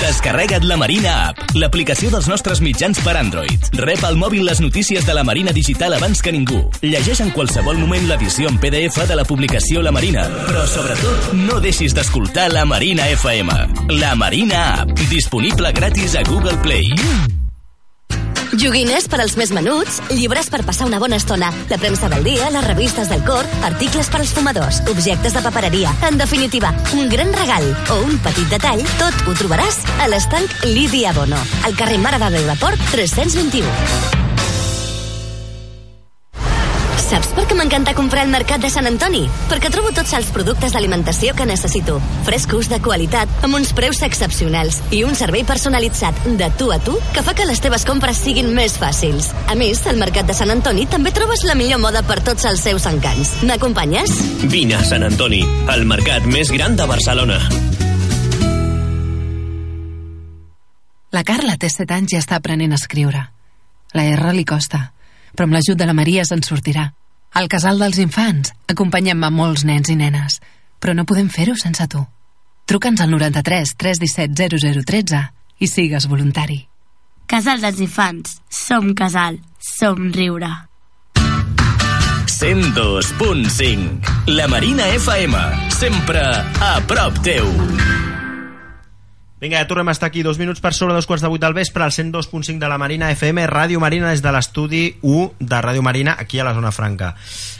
S1: Descarrega't la Marina App, l'aplicació dels nostres mitjans per Android. Rep al mòbil les notícies de la Marina Digital abans que ningú. Llegeix en qualsevol moment l'edició en PDF de la publicació La Marina. Però, sobretot, no deixis d'escoltar la Marina FM. La Marina App, disponible gratis a Google Play.
S7: Joguines per als més menuts, llibres per passar una bona estona, la premsa del dia, les revistes del cor, articles per als fumadors, objectes de papereria... En definitiva, un gran regal o un petit detall, tot ho trobaràs a l'estanc Lídia Bono, al carrer Mare de Déu de Port 321. Saps per què m'encanta comprar al Mercat de Sant Antoni? Perquè trobo tots els productes d'alimentació que necessito. Frescos, de qualitat, amb uns preus excepcionals i un servei personalitzat de tu a tu que fa que les teves compres siguin més fàcils. A més, al Mercat de Sant Antoni també trobes la millor moda per tots els seus encants. M'acompanyes?
S1: Vine a Sant Antoni, el mercat més gran de Barcelona.
S8: La Carla té 7 anys i està aprenent a escriure. La R li costa, però amb l'ajut de la Maria se'n sortirà. Al casal dels infants acompanyem a molts nens i nenes, però no podem fer-ho sense tu. Truca'ns al 93 317 0013 i sigues voluntari.
S9: Casal dels Infants. Som casal. Som riure.
S1: 102.5 La Marina FM, sempre a prop teu.
S2: Vinga, ja tornem a estar aquí dos minuts per sobre dos quarts de vuit del vespre al 102.5 de la Marina FM, Ràdio Marina des de l'estudi 1 de Ràdio Marina aquí a la zona franca.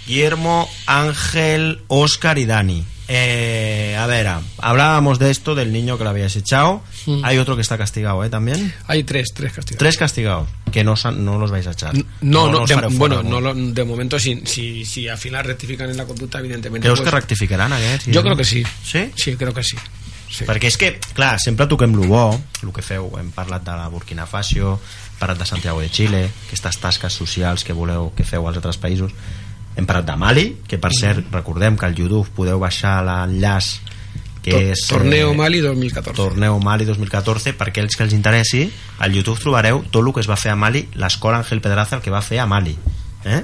S2: Guillermo, Ángel, Óscar y Dani. Eh, a ver, hablábamos de esto, del niño que lo habías echado.
S3: Sí.
S2: Hay otro que está castigado, ¿eh? También.
S3: Hay tres, tres castigados.
S2: Tres castigados, que no, os han- no los vais a echar.
S3: No, no,
S2: os
S3: de,
S2: fareu fora,
S3: bueno,
S2: no.
S3: no lo- de momento si, si, si al final rectifican en la conducta, evidentemente.
S2: Creus
S3: pues,
S2: que rectificaran aquests?
S3: Yo creo que sí.
S2: Sí?
S3: Sí, creo que sí. Sí.
S2: Perquè és que, clar, sempre toquem lo bo, el que feu, hem parlat de la Burkina Faso, hem parlat de Santiago de Xile, aquestes tasques socials que voleu que feu als altres països, hem parlat de Mali, que
S3: Mm.
S2: per cert, recordem que al YouTube podeu baixar l'enllaç que
S3: Tor-
S2: és... eh,
S3: Torneo Mali 2014.
S2: Torneo Mali 2014 per aquells que els interessi al YouTube trobareu tot el que es va fer a Mali l'escola Ángel Pedraza el que va fer a Mali eh?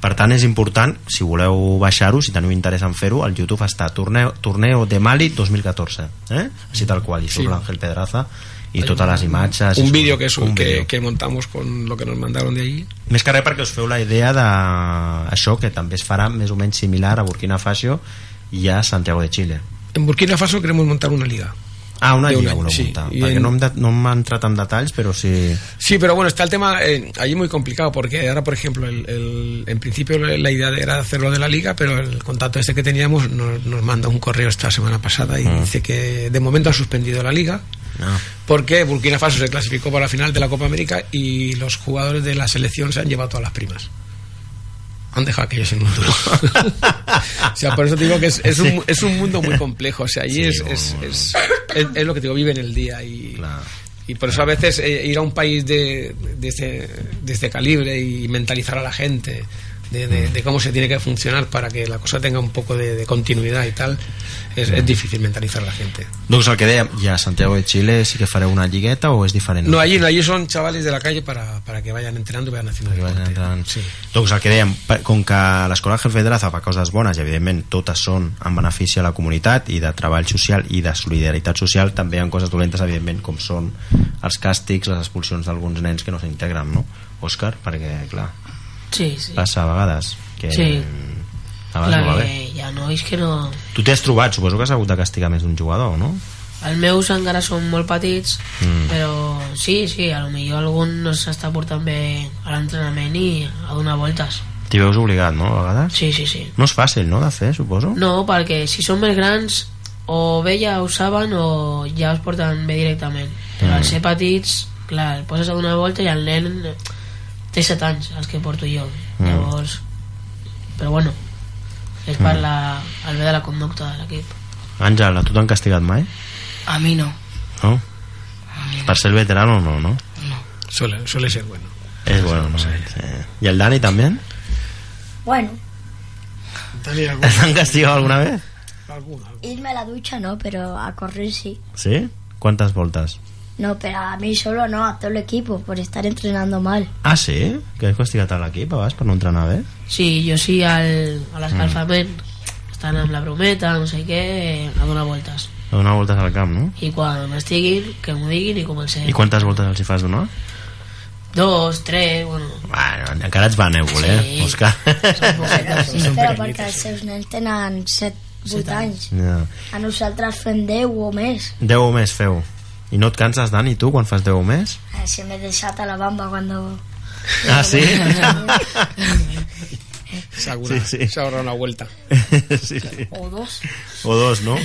S2: per tant és important si voleu baixar-ho, si teniu interès en fer-ho al YouTube està Torneo, Torneo de Mali 2014 eh? així tal qual, hi surt
S3: Sí.
S2: l'Ángel Pedraza i totes les imatges i
S3: un
S2: surt
S3: vídeo que, es,
S2: un
S3: que,
S2: vídeo.
S3: que montamos con lo que nos mandaron de allí.
S2: Més que res perquè us feu la idea de això que també es farà més o menys similar a Burkina Faso i a Santiago de Xile
S3: En Burkina Faso queremos montar una liga.
S2: Ah, una
S3: De un
S2: lliga
S3: any,
S2: voleu
S3: sí.
S2: muntar
S3: I
S2: perquè
S3: en-
S2: no hem de- no m'ha entrat en detalls però sí...
S3: Sí, pero bueno, está el tema eh, allí muy complicado porque ahora, por ejemplo, el, el- en principio la idea era hacerlo de la liga, pero el contacto este que teníamos nos, nos manda un correo esta semana pasada y dice que de momento ha suspendido la liga
S2: No.
S3: porque Burkina Faso se clasificó para la final de la Copa América y los jugadores de la selección se han llevado todas las primas. Han dejado aquello sin un duro. o sea, por eso te digo que es, es un, es un mundo muy complejo. O sea, allí es,
S2: Sí, bueno,
S3: es,
S2: bueno.
S3: es- es, es lo que te digo, vive en el día y, y por eso a veces eh, ir a un país de, de, este, de este calibre y mentalizar a la gente de, de- de cómo se tiene que funcionar para que la cosa tenga un poco de, de continuidad y tal, es, es difícil mentalizar a la gente.
S2: Doncs el que dèiem, ja a Santiago de Chile sí que fareu una lligueta o és diferent?
S3: No, allí no, allí son chavales de la calle para, para que vayan entrenando y vayan haciendo deporte. Sí.
S2: Doncs el que dèiem, per- com que l'escola Ángel Pedraza fa coses bones i evidentment totes són en benefici a la comunitat i de treball social i de solidaritat social també hi ha coses dolentes evidentment com són els càstigs, les expulsions d'alguns nens que no s'integren, no? Òscar, perquè clar,
S4: Sí, sí.
S2: passa a vegades que
S4: Sí.
S2: a vegades no va
S4: Clar
S2: bé.
S4: que hi ha nois que no...
S2: Tu t'has trobat, suposo que has hagut de castigar més d'un jugador, no?
S4: Els meus encara són molt petits,
S2: Mm.
S4: però sí, sí, a lo millor algun no s'està portant bé a l'entrenament i a donar voltes.
S2: T'hi veus obligat, no, a vegades?
S4: Sí, sí, sí.
S2: No és fàcil, no, de fer, suposo?
S4: No, perquè si són més grans o bé ja ho saben o ja us porten bé directament. Però
S2: Mm.
S4: al ser petits, clar, el poses a donar volta i el nen té 7 anys, els que porto jo.
S2: Mm.
S4: Llavors, però bueno, és per
S2: Mm.
S4: la, el bé de la conducta de l'equip.
S2: Àngel, a tu t'han castigat mai?
S5: A mi no.
S2: No? Per ser veterano no, no?
S3: Suele, suele ser bueno.
S2: És bueno, no sé. I el Dani també?
S6: Bueno,
S2: ¿T'han castigado alguna vez?
S6: irme a la ducha no, pero a correr sí.
S2: ¿Sí? ¿Cuántas voltas?
S6: No, pero a mí solo no, a todo el equipo, por estar entrenando mal.
S2: Ah, sí? Que has castigat a l'equip abans per no entrenar bé?
S4: Sí, jo sí al, a l'escalfament,
S2: l'escalfament, Mm.
S4: estan amb la brometa, no sé què, a donar voltes.
S2: A donar voltes al camp, no?
S4: I quan estiguin, que m'ho diguin i comencem.
S2: I quantes voltes els hi fas donar?
S4: Dos, tres, bueno,
S2: Bueno, encara ets va nèvol, eh,
S4: Sí.
S2: Òscar?
S6: Sí, però perquè els seus nens tenen 7-8 anys.
S2: Ja.
S6: A nosaltres fem 10 o més.
S2: Deu o més feu. I no et canses, Dani, tu, quan fas deu o més?
S6: Eh, Se me desata la bamba cuando...
S2: Ah, sí?
S3: Se ahorra,
S2: Sí, sí.
S3: se ahorra una vuelta.
S2: sí, sí.
S4: o dos,
S2: O dos, no?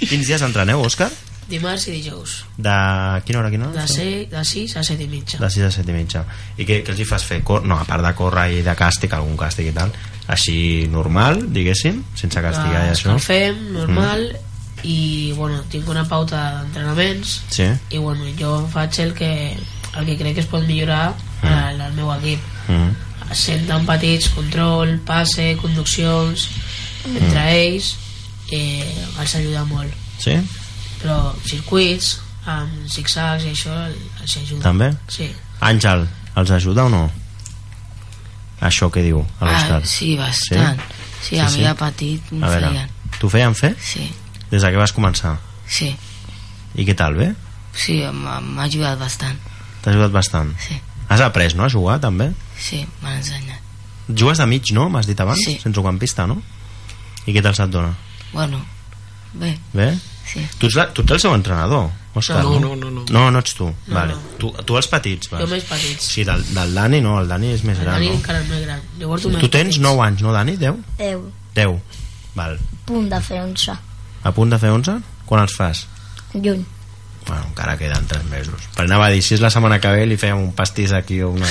S2: Quins dies entreneu, Òscar?
S4: dimarts i dijous.
S2: De quina hora, a quina hora?
S4: De, ser, de 6 a 7 i mitja.
S2: de 6 a 7 i mitja i què, què els hi fas fer? Cor no, a part de córrer i de càstig, algun càstig i tal així normal, diguéssim sense
S5: Ah,
S2: castigar i
S4: Les
S2: això Mhm.
S4: que Doncs fem, normal, i bueno, tinc una pauta d'entrenaments,
S2: sí?
S4: i bueno, jo faig el que, el que crec que es pot millorar
S2: Mhm.
S4: al, al meu equip.
S2: Mm.
S4: Sent tan petits, control, passe, conduccions,
S2: Mhm.
S4: entre ells, eh, els ajuda molt.
S2: sí?
S4: Però circuits, amb zigzags i això, els ajuda.
S2: També?
S4: Sí.
S2: Àngel, els ajuda o no? això que diu a
S5: Ah,
S2: l'Òscar
S5: sí, bastant. Sí, a mi de petit m'ho
S2: A veure,
S5: feien.
S2: t'ho feien fer?
S5: Sí.
S2: des de que vas començar
S5: Sí,
S2: i què tal, bé?
S5: sí, m'ha m'ha ajudat bastant.
S2: T'ha ajudat bastant
S5: Sí.
S2: has après, no? a jugar també
S5: Sí, m'han ensenyat.
S2: jugues de mig, no? m'has dit abans
S5: Sí.
S2: centrocampista, no? i què tal se't dona?
S5: Bueno, bé,
S2: bé?
S5: sí.
S2: Tu ets, la, tu ets el seu entrenador, Òscar,
S4: No,
S2: no?
S4: no, no, no.
S2: No, no ets tu. No, vale. Tu, tu els petits, vas.
S4: Jo més petits.
S2: Sí, del, del Dani no, el Dani és més
S4: El
S2: gran,
S4: Dani
S2: no?
S4: encara és més gran. Jo porto més
S2: Tu tens
S4: petits.
S2: 9 anys, no, Dani? 10?
S6: 10,
S2: 10. Val.
S6: punt de fer 11,
S2: A punt de fer 11? Quan els fas?
S6: lluny.
S2: Bueno, encara queden 3 mesos. Per anava a dir, si és la setmana que ve li fèiem un pastís aquí o una...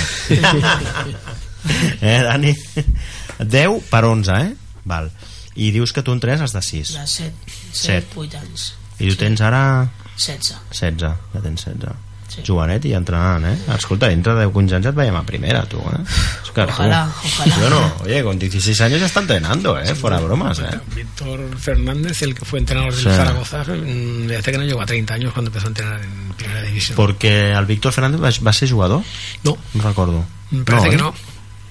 S4: *laughs*
S2: eh, Dani? 10 per 11, eh? Val. I dius que tu en 3 has de 6.
S4: De 7, 7,
S2: Set.
S4: 8 anys.
S2: I tu tens ara...
S4: 16.
S2: 16, ja tens 16.
S4: Sí.
S2: Sí. Jovenet i entrenant, eh? Escolta, dintre de 15 anys et veiem a primera, tu, eh? Oscar,
S4: Ojalá,
S2: tu.
S4: ojalá.
S2: Yo no, oye, con 16 años ya está entrenando, eh? Fuera bromas, eh?
S3: Víctor Fernández, el que fue entrenador del
S2: Sí.
S3: Zaragoza, mm, desde que no llegó a 30 años cuando empezó a entrenar en primera división.
S2: Porque el Víctor Fernández va, va ser jugador?
S3: No.
S2: No recordo.
S3: Me parece que
S2: eh?
S3: no.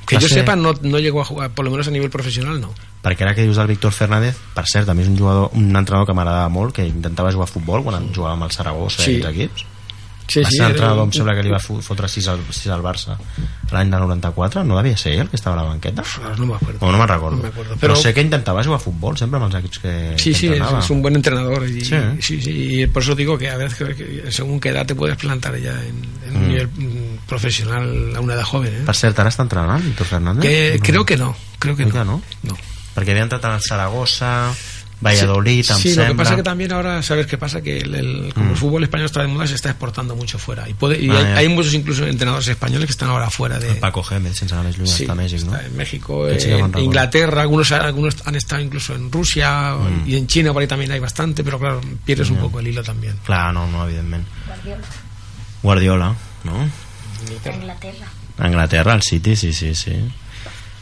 S3: Que
S2: Va
S3: yo
S2: ser-
S3: sepa, no, no llegó a jugar, por lo menos a nivel profesional, no.
S2: perquè ara que dius del Víctor Fernández per cert, també és un jugador, un entrenador que m'agradava molt que intentava jugar a futbol quan jugava amb el Saragossa
S3: Sí.
S2: i els equips
S3: Sí,
S2: va
S3: sí,
S2: ser
S3: era
S2: l'entrenador,
S3: un-
S2: em sembla que li va fo- fotre 6 al, 6 al Barça l'any del 94, no devia ser ell el que estava a la banqueta?
S3: Pues No me acuerdo.
S2: O no me'n recordo.
S3: No me acuerdo,
S2: però...
S3: però-
S2: però sé que intentava jugar a futbol sempre amb els equips que,
S3: Sí,
S2: que
S3: sí, es,
S2: entrenava.
S3: es un buen entrenador. Y,
S2: Sí, ¿eh?
S3: sí, sí, y por eso digo que a veces que- que según qué edad te puedes plantar ya en, en un
S2: Mm.
S3: nivel mm, profesional a una edad joven. ¿eh?
S2: Per cert, ara està entrenant Víctor Fernández? Mm.
S3: Que- creo que no, creo que
S2: Oi que no.
S3: No.
S2: Perquè havia entrat al Saragossa, Valladolid,
S3: sí,
S2: em
S3: sí, lo que
S2: sembla.
S3: pasa que también ahora, ¿sabes qué pasa? Que el, el- como
S2: Mm.
S3: el fútbol español está de moda, se está exportando mucho fuera. Y, puede, y
S2: Ah,
S3: hay,
S2: ya. Ah,
S3: hay muchos incluso entrenadores españoles que están ahora fuera de...
S2: Paco Gémez, sense anar més lluny,
S3: Sí,
S2: està a Mèxic, no?
S3: en México,
S2: Que sí que
S3: eh,
S2: me'n recordo.
S3: Inglaterra, algunos, algunos han estado incluso en Rusia y en China, por ahí también hay bastante, pero claro, pierdes un
S2: Mm. Ya.
S3: poco el hilo también.
S2: Clar, no, no, evidentment. Guardiola, no?
S6: Inglaterra.
S2: Anglaterra, el City, sí, sí, sí.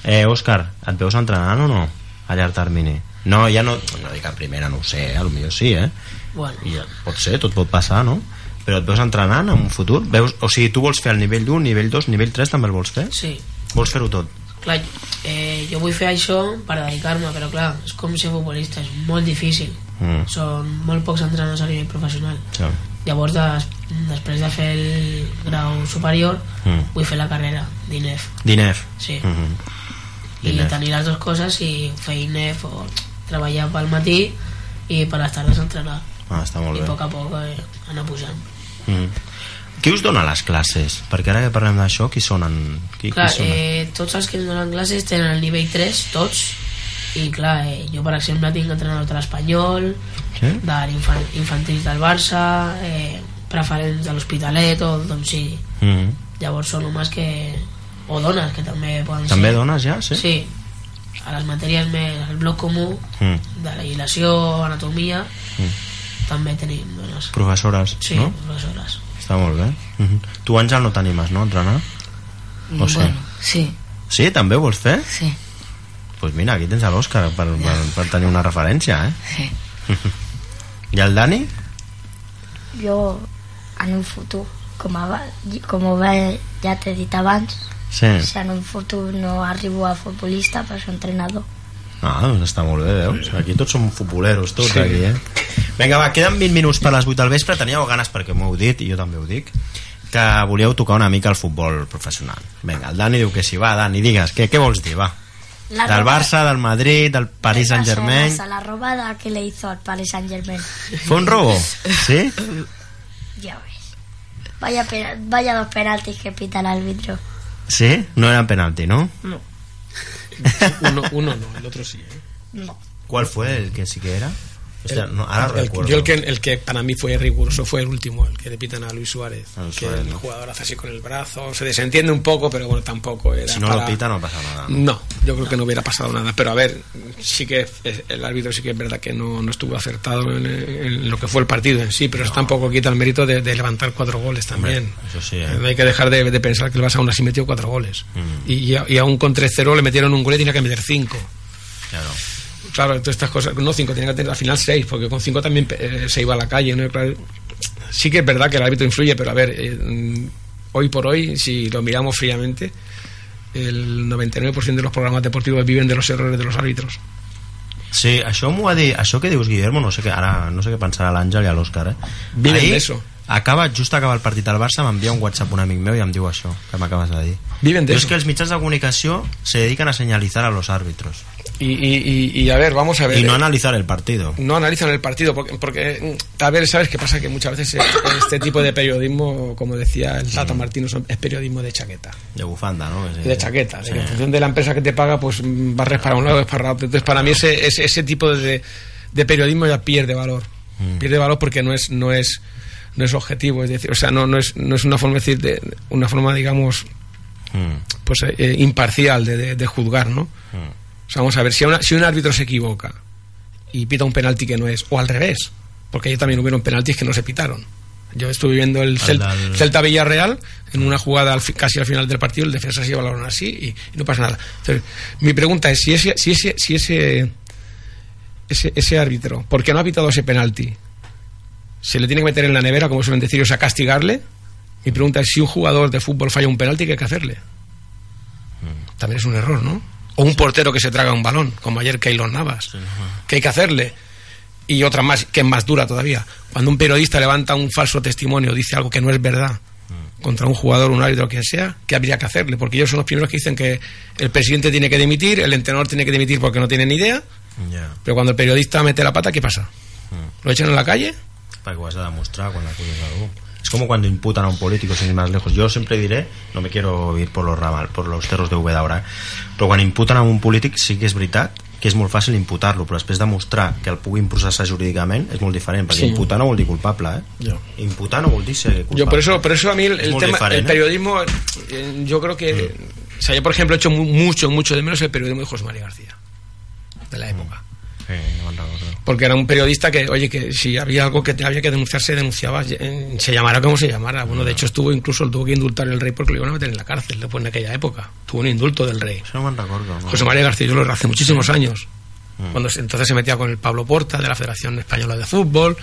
S2: Eh, Òscar, et veus entrenant o no? A llarg termini. No, ja no, no dic a primera, no ho sé, eh? potser sí, eh?
S4: Bueno,
S2: I ja, pot ser, tot pot passar, no? Però et veus entrenant en un futur? Veus, o sigui, tu vols fer el nivell 1, nivell 2, nivell 3 també el vols fer?
S4: Sí.
S2: Vols fer-ho tot?
S4: clar, eh, jo vull fer això per dedicar-me, però clar, és com ser futbolista, és molt difícil.
S2: Mm.
S4: Són molt pocs entrenadors a nivell professional.
S2: Ja.
S4: Llavors, des, després de fer el grau superior,
S2: Mm.
S4: vull fer la carrera d'INEF.
S2: D'INEF.
S4: Sí.
S2: Mm -hmm.
S4: I
S2: D'INEF.
S4: tenir les dues coses i fer INEF o treballar pel matí i per les tardes entrenar.
S2: Ah, està molt
S4: I a
S2: bé.
S4: poc a poc eh, anar pujant.
S2: Mm. Qui us dona les classes? Perquè ara que parlem d'això, qui sonen? Qui,
S4: clar,
S2: qui sonen?
S4: eh, tots els que ens donen classes tenen el nivell 3, tots, i clar, eh, jo per exemple tinc entrenadors de l'Espanyol,
S2: Sí?
S4: de l'infan- infantils del Barça, eh, preferents de l'Hospitalet o d'on sigui.
S2: Mm.
S4: Llavors són homes que... o dones, que també poden
S2: També
S4: ser.
S2: dones ja, sí?
S4: Sí. A les matèries més, al bloc comú,
S2: Mm.
S4: de legislació, anatomia,
S2: Mm.
S4: també tenim dones.
S2: Professores,
S4: Sí,
S2: no?
S4: professores.
S2: Està molt bé. Mm -hmm. Tu, Àngel, no t'animes, no, a entrenar? O sí?
S5: Bueno, sí.
S2: Sí, també ho vols fer?
S5: Sí.
S2: Doncs pues mira, aquí tens a l'Òscar per, per, per tenir una referència, eh?
S5: Sí.
S2: I el Dani?
S6: Jo, en un futur, com, a, com ho ve, ja t'he dit abans,
S2: Sí.
S6: si en un futur no arribo a futbolista, però soc entrenador.
S2: Ah, doncs està molt bé, veus? Aquí tots som futboleros, tots, sí. aquí, eh? Vinga, va, queden 20 minuts per les 8 del vespre. Teníeu ganes, perquè m'ho heu dit, i jo també ho dic, que volíeu tocar una mica el futbol professional. Vinga, el Dani diu que sí. Va, Dani, digues, què, què vols dir, va?
S6: La
S2: Del
S6: roba-
S2: Barça, del Madrid, del Paris Saint-Germain...
S6: La robada que le hizo al Paris Saint-Germain.
S2: Fue un robo, *laughs* ¿sí?
S6: Ya ves. Vaya, pena- vaya dos penaltis que pita el árbitro.
S2: ¿Sí? No era penalti, ¿no?
S6: No.
S3: Uno, uno no, el otro sí. ¿eh? Pues
S6: No.
S2: ¿Cuál fue el que sí que era? O sea, no, ahora
S3: el,
S2: recuerdo.
S3: yo el que, el que para mí fue riguroso fue el último, el que le pitan a Luis Suárez.
S2: A Luis
S3: que
S2: Suárez,
S3: el
S2: ¿no?
S3: jugador hace así con el brazo, se desentiende un poco, pero bueno, tampoco era
S2: Si no
S3: para- Mm.
S2: lo pita no pasa nada. ¿no?
S3: No, yo creo que no hubiera pasado nada. Pero a ver, sí que eh, el árbitro sí que es verdad que no, no estuvo acertado en, en lo que fue el partido en sí, pero eso tampoco quita el mérito de, de levantar cuatro goles también.
S2: Eso sí,
S3: Eh, No
S2: ¿eh?
S3: hay que dejar de, de pensar que el Barça aún así metió cuatro goles.
S2: Mm,
S3: Y, y, a- y aún con 3-0 le metieron un gol y tenía que meter cinco.
S2: claro.
S3: Claro, todas estas cosas, no cinco, tenía que tener al final seis, porque con cinco también eh, se iba a la calle. ¿no? Claro, sí que es verdad que el árbitro influye, pero a ver, eh, mm, hoy por hoy, si lo miramos fríamente, el 99% de los programas deportivos viven de los errores de los árbitros.
S2: Sí, això m'ho va dir, això que dius Guillermo, no sé què, ara no sé què pensarà l'Àngel i l'Òscar, eh?
S3: Viven
S2: Ahir,
S3: de eso.
S2: Acaba, just acaba el partit del Barça, m'envia un WhatsApp un amic meu i em diu això, que m'acabes de dir.
S3: Viven de
S2: Diu, és
S3: eso.
S2: que els mitjans de comunicació se dedican a señalizar a los árbitros
S3: Y, y- y- y a ver, vamos a ver.
S2: y no
S3: eh,
S2: analizar el partido.
S3: no analizan el partido porque, porque mm, a ver sabes qué pasa que muchas veces este, este tipo de periodismo como decía el Tata Martino son- es periodismo de chaqueta
S2: De bufanda, ¿no? Que sí.
S3: de chaqueta de que en
S2: Sí.
S3: función de la empresa que te paga pues mm, barres para un lado es para otro entonces para mí ese, ese, ese tipo de, de periodismo ya pierde valor
S2: Mm.
S3: pierde valor porque no es no es no es objetivo es decir o sea no, no es no es una forma de decir de, una forma digamos
S2: Mm,
S3: pues eh, eh, imparcial de, de- de juzgar no
S2: mm.
S3: o sea, vamos a ver, si, una- si un árbitro se equivoca y pita un penalti que no es, o al revés, porque ayer también hubieron penaltis que no se pitaron. Yo estuve viendo el Cel-
S2: del-
S3: Celta Villarreal en una jugada al fi- casi al final del partido, el defensa se lleva el balón así y, y no pasa nada. Entonces, mi pregunta es si ese, si ese, si ese, ese, ese árbitro, ¿por qué no ha pitado ese penalti? ¿Se le tiene que meter en la nevera, como suelen decir, o sea, castigarle? Mi pregunta es si un jugador de fútbol falla un penalti, ¿qué hay que hacerle? También es un error, ¿no? O un portero que se traga un balón, como ayer Keylor Navas. ¿Qué hay que hacerle? Y otra más, que es más dura todavía. Cuando un periodista levanta un falso testimonio, dice algo que no es verdad, contra un jugador, un árbitro, quien sea, ¿qué habría que hacerle? Porque ellos son los primeros que dicen que el presidente tiene que dimitir, el entrenador tiene que dimitir porque no tiene ni idea,
S2: Ja,
S3: pero cuando el periodista mete la pata, ¿qué pasa? ¿Lo echan a la calle?
S2: perquè ho has de demostrar quan acuses algú. Es como cuando imputan a un político, sin ir más lejos. Yo siempre diré, no me quiero ir por los ramal, por los cerros de V d'Aura, eh? però quan imputen a un polític sí que és veritat que que és molt fàcil imputar-lo, però després demostrar que el puguin processar jurídicament és molt diferent, perquè
S3: Sí.
S2: imputar no vol dir culpable, eh?
S3: Ja.
S2: Imputar no vol dir ser culpable.
S3: Yo por eso, por eso a mí el,
S2: Es
S3: el
S2: muy ¿eh? Mm.
S3: tema,
S2: diferente.
S3: el periodismo, eh, yo creo que, o sea, yo por ejemplo he hecho mu- mucho, mucho de menos el periodismo de José María García, de la época. Porque era un periodista que, oye, que si había algo que te- había que denunciar, se denunciaba, eh, se llamara como se llamara. Bueno, de hecho estuvo incluso, lo tuvo que indultar el rey porque lo iban a meter en la cárcel después en aquella época. Tuvo un indulto del rey.
S2: Això no me'n recordo. No?
S3: José María García, yo lo hace muchísimos años.
S2: Mm.
S3: Cuando se- entonces se metía con el Pablo Porta de la Federación Española de Fútbol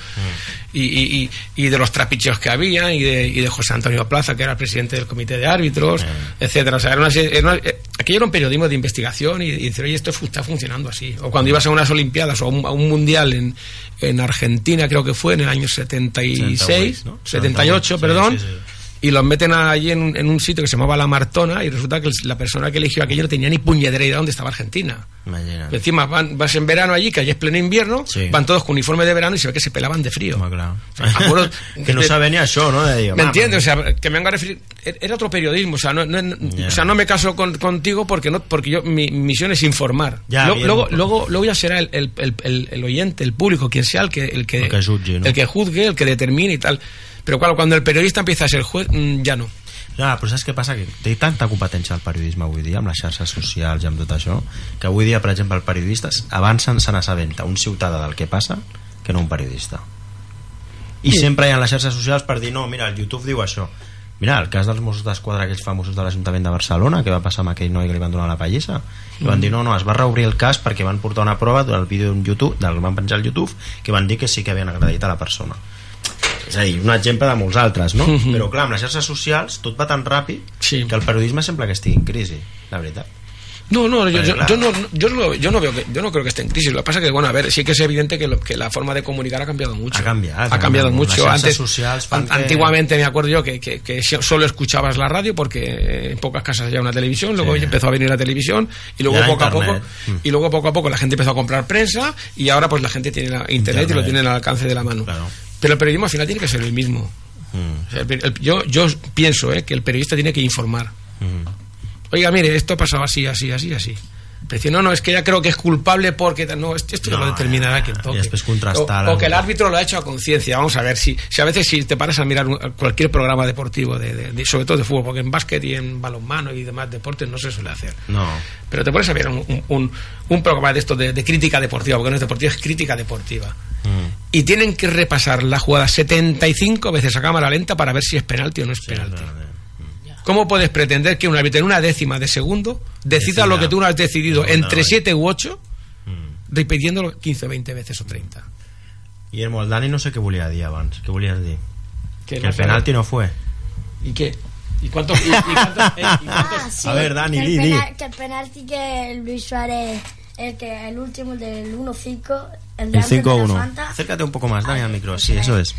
S3: y, y- y- y de los trapicheos que había y de, y de José Antonio Plaza, que era el presidente del comité de árbitros, etcétera. O sea, era una serie- era una- eh, aquello era un periodismo de investigación y, y decir, oye, esto fu- está funcionando así. O cuando ibas a unas Olimpiadas o a un, a un mundial en, en Argentina, creo que fue en el año 76,
S2: 78, ¿no?
S3: 78,
S2: Sí,
S3: perdón.
S2: sí, sí.
S3: Y los meten allí en un, en un sitio que se llamaba La Martona y resulta que el- la persona que eligió aquello no tenía ni puñetera idea dónde estaba Argentina.
S2: Imagina't.
S3: Encima van, vas en verano allí, que allí es pleno invierno,
S2: Sí.
S3: van todos con uniforme de verano y se ve que se pelaban de frío. Me acuerdo-
S2: *laughs* que no sabe ni això, no? De dir,
S3: ¿Me
S2: home,
S3: entiendes? O sea, que me vengo a referir. er, Era otro periodismo, o sea, no, no- no-
S2: Ya.
S3: o sea, no me caso con- contigo porque no porque yo mi misión es informar.
S2: Ya,
S3: Lo-
S2: bien, pues.
S3: luego,
S2: por-
S3: luego, luego ya será el, el- el- el- el oyente, el público, quien sea el que, el, que,
S2: El que jutgi, no?
S3: el que juzgue, el que determine y tal. Pero claro, cuando el periodista empieza a ser juez, mm, ya no.
S2: Ja, però saps què passa? Que té tanta competència el periodisme avui dia, amb les xarxes socials i amb tot això, que avui dia, per exemple, els periodistes avancen se n'assabenta un ciutadà del que passa que no un periodista. I
S10: Sí.
S2: sempre hi ha les xarxes socials per dir, no, mira, el YouTube diu això. Mira, el cas dels Mossos d'Esquadra, aquells famosos de l'Ajuntament de Barcelona, que va passar amb aquell noi que li van donar la pallissa, i van dir, no, no, es va reobrir el cas perquè van portar una prova del vídeo d'un YouTube, del van penjar al YouTube, que van dir que sí que havien agredit a la persona. És a dir, un exemple de molts altres, no?
S3: Mhm.
S2: Però clar, amb les xarxes socials tot va tan ràpid sí. que el periodisme sembla que estigui en crisi, la veritat.
S3: No, no, yo,
S2: Pero
S3: yo-
S2: claro.
S3: yo no, yo, no, lo- yo no veo que, yo no creo que esté en crisis. Lo que pasa es que, bueno, a ver, sí que es evidente que, lo- que la forma de comunicar ha cambiado mucho.
S2: Ha canviat,
S3: Ha cambiado
S2: Amb les
S3: mucho.
S2: xarxes
S3: Antes,
S2: socials fan
S3: an-
S2: que-
S3: antiguamente me acuerdo yo que, que- que si- solo escuchabas la radio porque eh, en pocas casas había una televisión, luego
S2: Sí.
S3: empezó a venir la televisión y
S2: Y
S3: luego
S2: ahora
S3: poco a
S2: internet. Mm.
S3: poco y luego poco a poco la gente empezó a comprar prensa y ahora pues la gente tiene la internet, y lo
S2: Internet.
S3: tiene al alcance de la mano. Pero el periodismo al final tiene que ser el mismo.
S2: Mm,
S3: O sea, el per- el- yo, yo pienso eh, que el periodista tiene que informar
S2: mm.
S3: oiga, mire, esto ha pasado así, así, así, así. Pero dice, no, no, es que ya creo que es culpable porque... tal". No, este, esto, esto ya
S2: No,
S3: lo determinará quien
S2: I
S3: toque.
S2: després
S3: O,
S2: contrastar...
S3: o que el árbitro lo ha hecho a conciencia. Vamos a ver, si, si a veces si te paras a mirar un- cualquier programa deportivo, de, de- de- sobre todo de fútbol, porque en básquet y en balonmano y demás deportes no se suele hacer.
S2: No.
S3: Pero te pones a mirar un, un- un- un programa de esto de, de crítica deportiva, porque no es deportiva, es crítica deportiva.
S2: Mm,
S3: Y tienen que repasar la jugada 75 veces a cámara lenta para ver si es penalti o no es penalti. ¿Cómo puedes pretender que un árbitro en una décima de segundo decida
S2: Decida.
S3: lo que tú no has decidido
S2: No,
S3: entre
S2: no,
S3: 7 u 8
S2: Mm.
S3: repitiéndolo 15 o 20 veces o 30?
S2: Guillermo, el Dani no sé què volia dir abans. Què volies dir?
S3: Que
S2: Que,
S3: no
S2: el
S3: sé.
S2: penalti no fue.
S3: ¿Y qué? ¿Y cuántos? y- y
S2: *laughs*
S3: cuántos- eh, y cuántos-
S6: Ah, sí.
S2: A ver, Dani,
S6: que el
S2: di, di.
S6: pena- Que el penalti que Luis Suárez, el, que, el último, el del 1-5, el de
S2: El
S6: antes de la Ah,
S2: 5-1.
S6: Fanta,
S2: Acércate un poco más, Dani, al micro. Sí, eso es.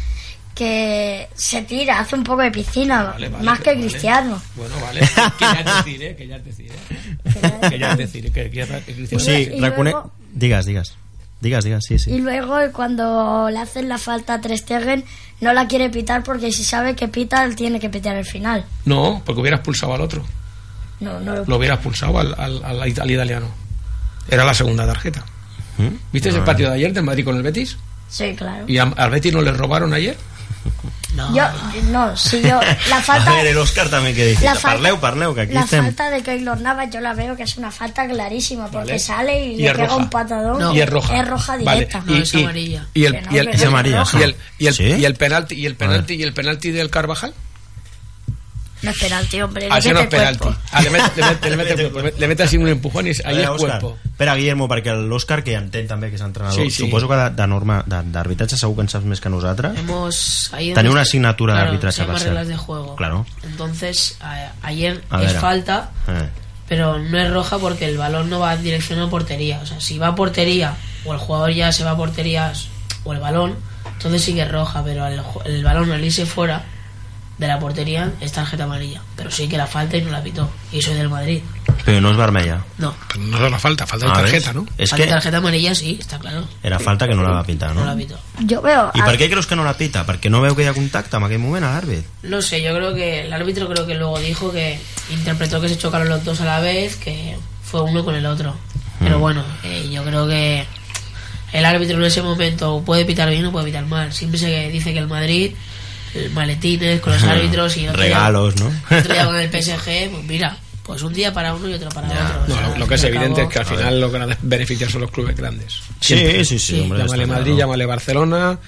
S6: que se tira, hace un poco de piscina, más que Cristiano.
S3: Bueno, vale. Que ya te diré, que ya te diré. Que ya te diré, que, que, que
S2: O
S3: Cristiano-
S2: sigui,
S6: I
S2: reconec...
S6: luego-
S2: Digues, digues. Digues, digues, sí,
S6: Y
S2: sí.
S6: luego cuando le hacen la falta a Trestegen, no la quiere pitar porque si sabe que pita, él tiene que pitar el final.
S3: No, porque hubieras pulsado al otro.
S6: No, no lo
S3: Lo hubieras pulsado al, al, al- al italiano. Era la segunda tarjeta.
S2: ¿Mm?
S3: ¿Viste el
S6: Vale.
S3: partido de ayer del Madrid con el Betis?
S6: Sí, claro.
S3: ¿Y a- al Betis no le robaron ayer?
S6: Yo, no, si yo, la
S2: *laughs*
S6: falta...
S2: A veure, l'Òscar també què digita.
S6: La falta-
S2: Parleu, parleu, que aquí
S6: la
S2: estem...
S6: falta de Keylor Navas yo la veo que es una falta clarísima porque
S2: Vale.
S6: sale y,
S2: Y
S6: le
S2: es
S6: pega
S2: roja.
S6: un patadón
S3: No. Y es roja. Vale.
S6: directa
S3: Y- y- Y el, y el-
S2: Es amarilla,
S3: y
S2: sí.
S3: el, y el-
S2: ¿Sí?
S3: y el penalti, y el penalti, y el penalti del Carvajal.
S6: no es penalti hombre le
S3: Así no
S6: mete
S3: es penalti.
S6: cuerpo.
S3: Ah, le mete, le
S2: *laughs*
S3: mete- le mete cuerpo, le- le mete así un empujón y es- ahí
S2: Espera,
S3: es
S2: Òscar.
S3: cuerpo.
S2: Espera, Guillermo, perquè l'Òscar, que ja entén també que és entrenador,
S3: Sí, sí.
S2: suposo que de, de norma, de- d'arbitratge segur que en saps més que nosaltres.
S4: Hemos, ayer
S2: Tenía
S4: hemos-
S2: una asignatura de
S4: claro,
S2: arbitraje
S4: se llama
S2: para ser.
S4: reglas de juego.
S2: Claro.
S4: Entonces, a- ayer
S2: A
S4: es
S2: ver.
S4: falta,
S2: Eh.
S4: pero no es roja porque el balón no va en dirección a portería. O sea, si va a portería o el jugador ya se va a porterías o el balón, entonces sí que es roja, pero el, ju- el balón al irse fuera de la portería es tarjeta amarilla. Pero sí que la falta y no la pitó. Y soy del Madrid.
S2: Però no és vermella.
S4: No.
S3: No es la falta, falta de
S2: Ah,
S3: tarjeta,
S2: ves?
S3: ¿no?
S2: És
S4: Falta
S2: que
S4: tarjeta amarilla sí, está claro.
S2: era falta que no la va pitar,
S4: No la
S2: no?
S4: pitó.
S6: yo veo
S2: I per què creus que no la pita? Perquè no veu que hi ha contacte en aquell moment a l'àrbit.
S4: No sé, yo creo que el árbitro creo que luego dijo que interpretó que se chocaron los dos a la vez, que fue uno con el otro.
S2: Mm.
S4: Pero bueno, eh, yo creo que el árbitro en ese momento puede pitar bien o puede pitar mal. Siempre se dice que el Madrid, el maletines con los árbitros y el otro día-
S2: Regalos, ¿no?
S4: el otro día con el PSG, pues mira, pues un día para uno y otro para otro. O
S3: No,
S4: sea,
S3: lo, lo que es
S4: al fin y al
S3: evidente es
S4: cabo-
S3: que al final los grandes beneficios son los clubes grandes.
S2: Sí,
S3: Siempre.
S2: sí, sí, hombre,
S3: llámale
S2: está
S3: Madrid,
S2: claro.
S3: llámale Barcelona.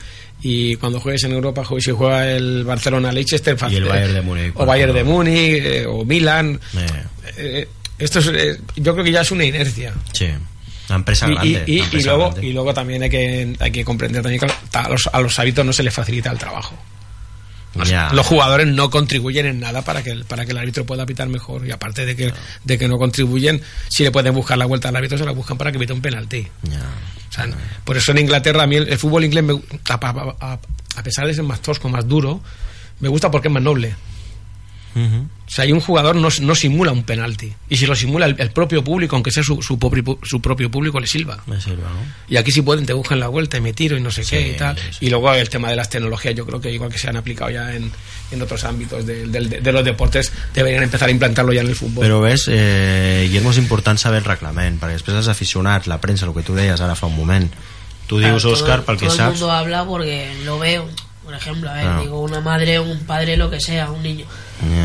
S3: Y cuando juegues en Europa, juegues- si juega el Barcelona Leicester,
S2: Y el
S3: fácil- eh,
S2: Bayern de Múnich,
S3: O
S2: por
S3: Bayern de
S2: ejemplo.
S3: Múnich, eh, o Milan.
S2: Eh,
S3: Eh, esto es, eh, yo creo que ya es una inercia.
S2: sí. La empresa
S3: Y- y-
S2: grande.
S3: y,
S2: la
S3: y
S2: empresa
S3: luego,
S2: grande.
S3: y luego también hay que, hay que comprender también que a los, a los hábitos no se les facilita el trabajo. Los-
S2: Ya.
S3: Los jugadores no contribuyen en nada para que, el- para que el árbitro pueda pitar mejor. Y aparte de que, de que no contribuyen, si le pueden buscar la vuelta al árbitro, se la buscan para que pite un penalti. O sea, por eso en Inglaterra, a mí el, el fútbol inglés, me, a, a- a- a pesar de ser más tosco, más duro, me gusta porque es más noble.
S4: Mhm.
S3: O sea, hay un jugador no, no simula un penalti. Y si lo simula el, el propio público, aunque sea su, su, popri- su propio público, le silba.
S2: Me sirve, ¿no?
S3: Y aquí si pueden te buscan la vuelta y me tiro y no sé qué y tal.
S2: sí,
S3: Y luego el tema de las tecnologías, yo creo que igual que se han aplicado ya en, en otros ámbitos de, del- de los deportes, deberían empezar a implantarlo ya en el fútbol.
S2: Però ves, eh, Guillermo, és important saber el reglament, perquè després els aficionats, la premsa, el que tu deies ara fa un moment, tu
S4: Claro,
S2: dius,
S4: todo-
S2: Òscar, pel que
S4: Todo el
S2: saps...
S4: mundo habla porque lo veo, por ejemplo, a ver,
S2: Claro.
S4: digo, una madre, un padre, lo que sea, un niño.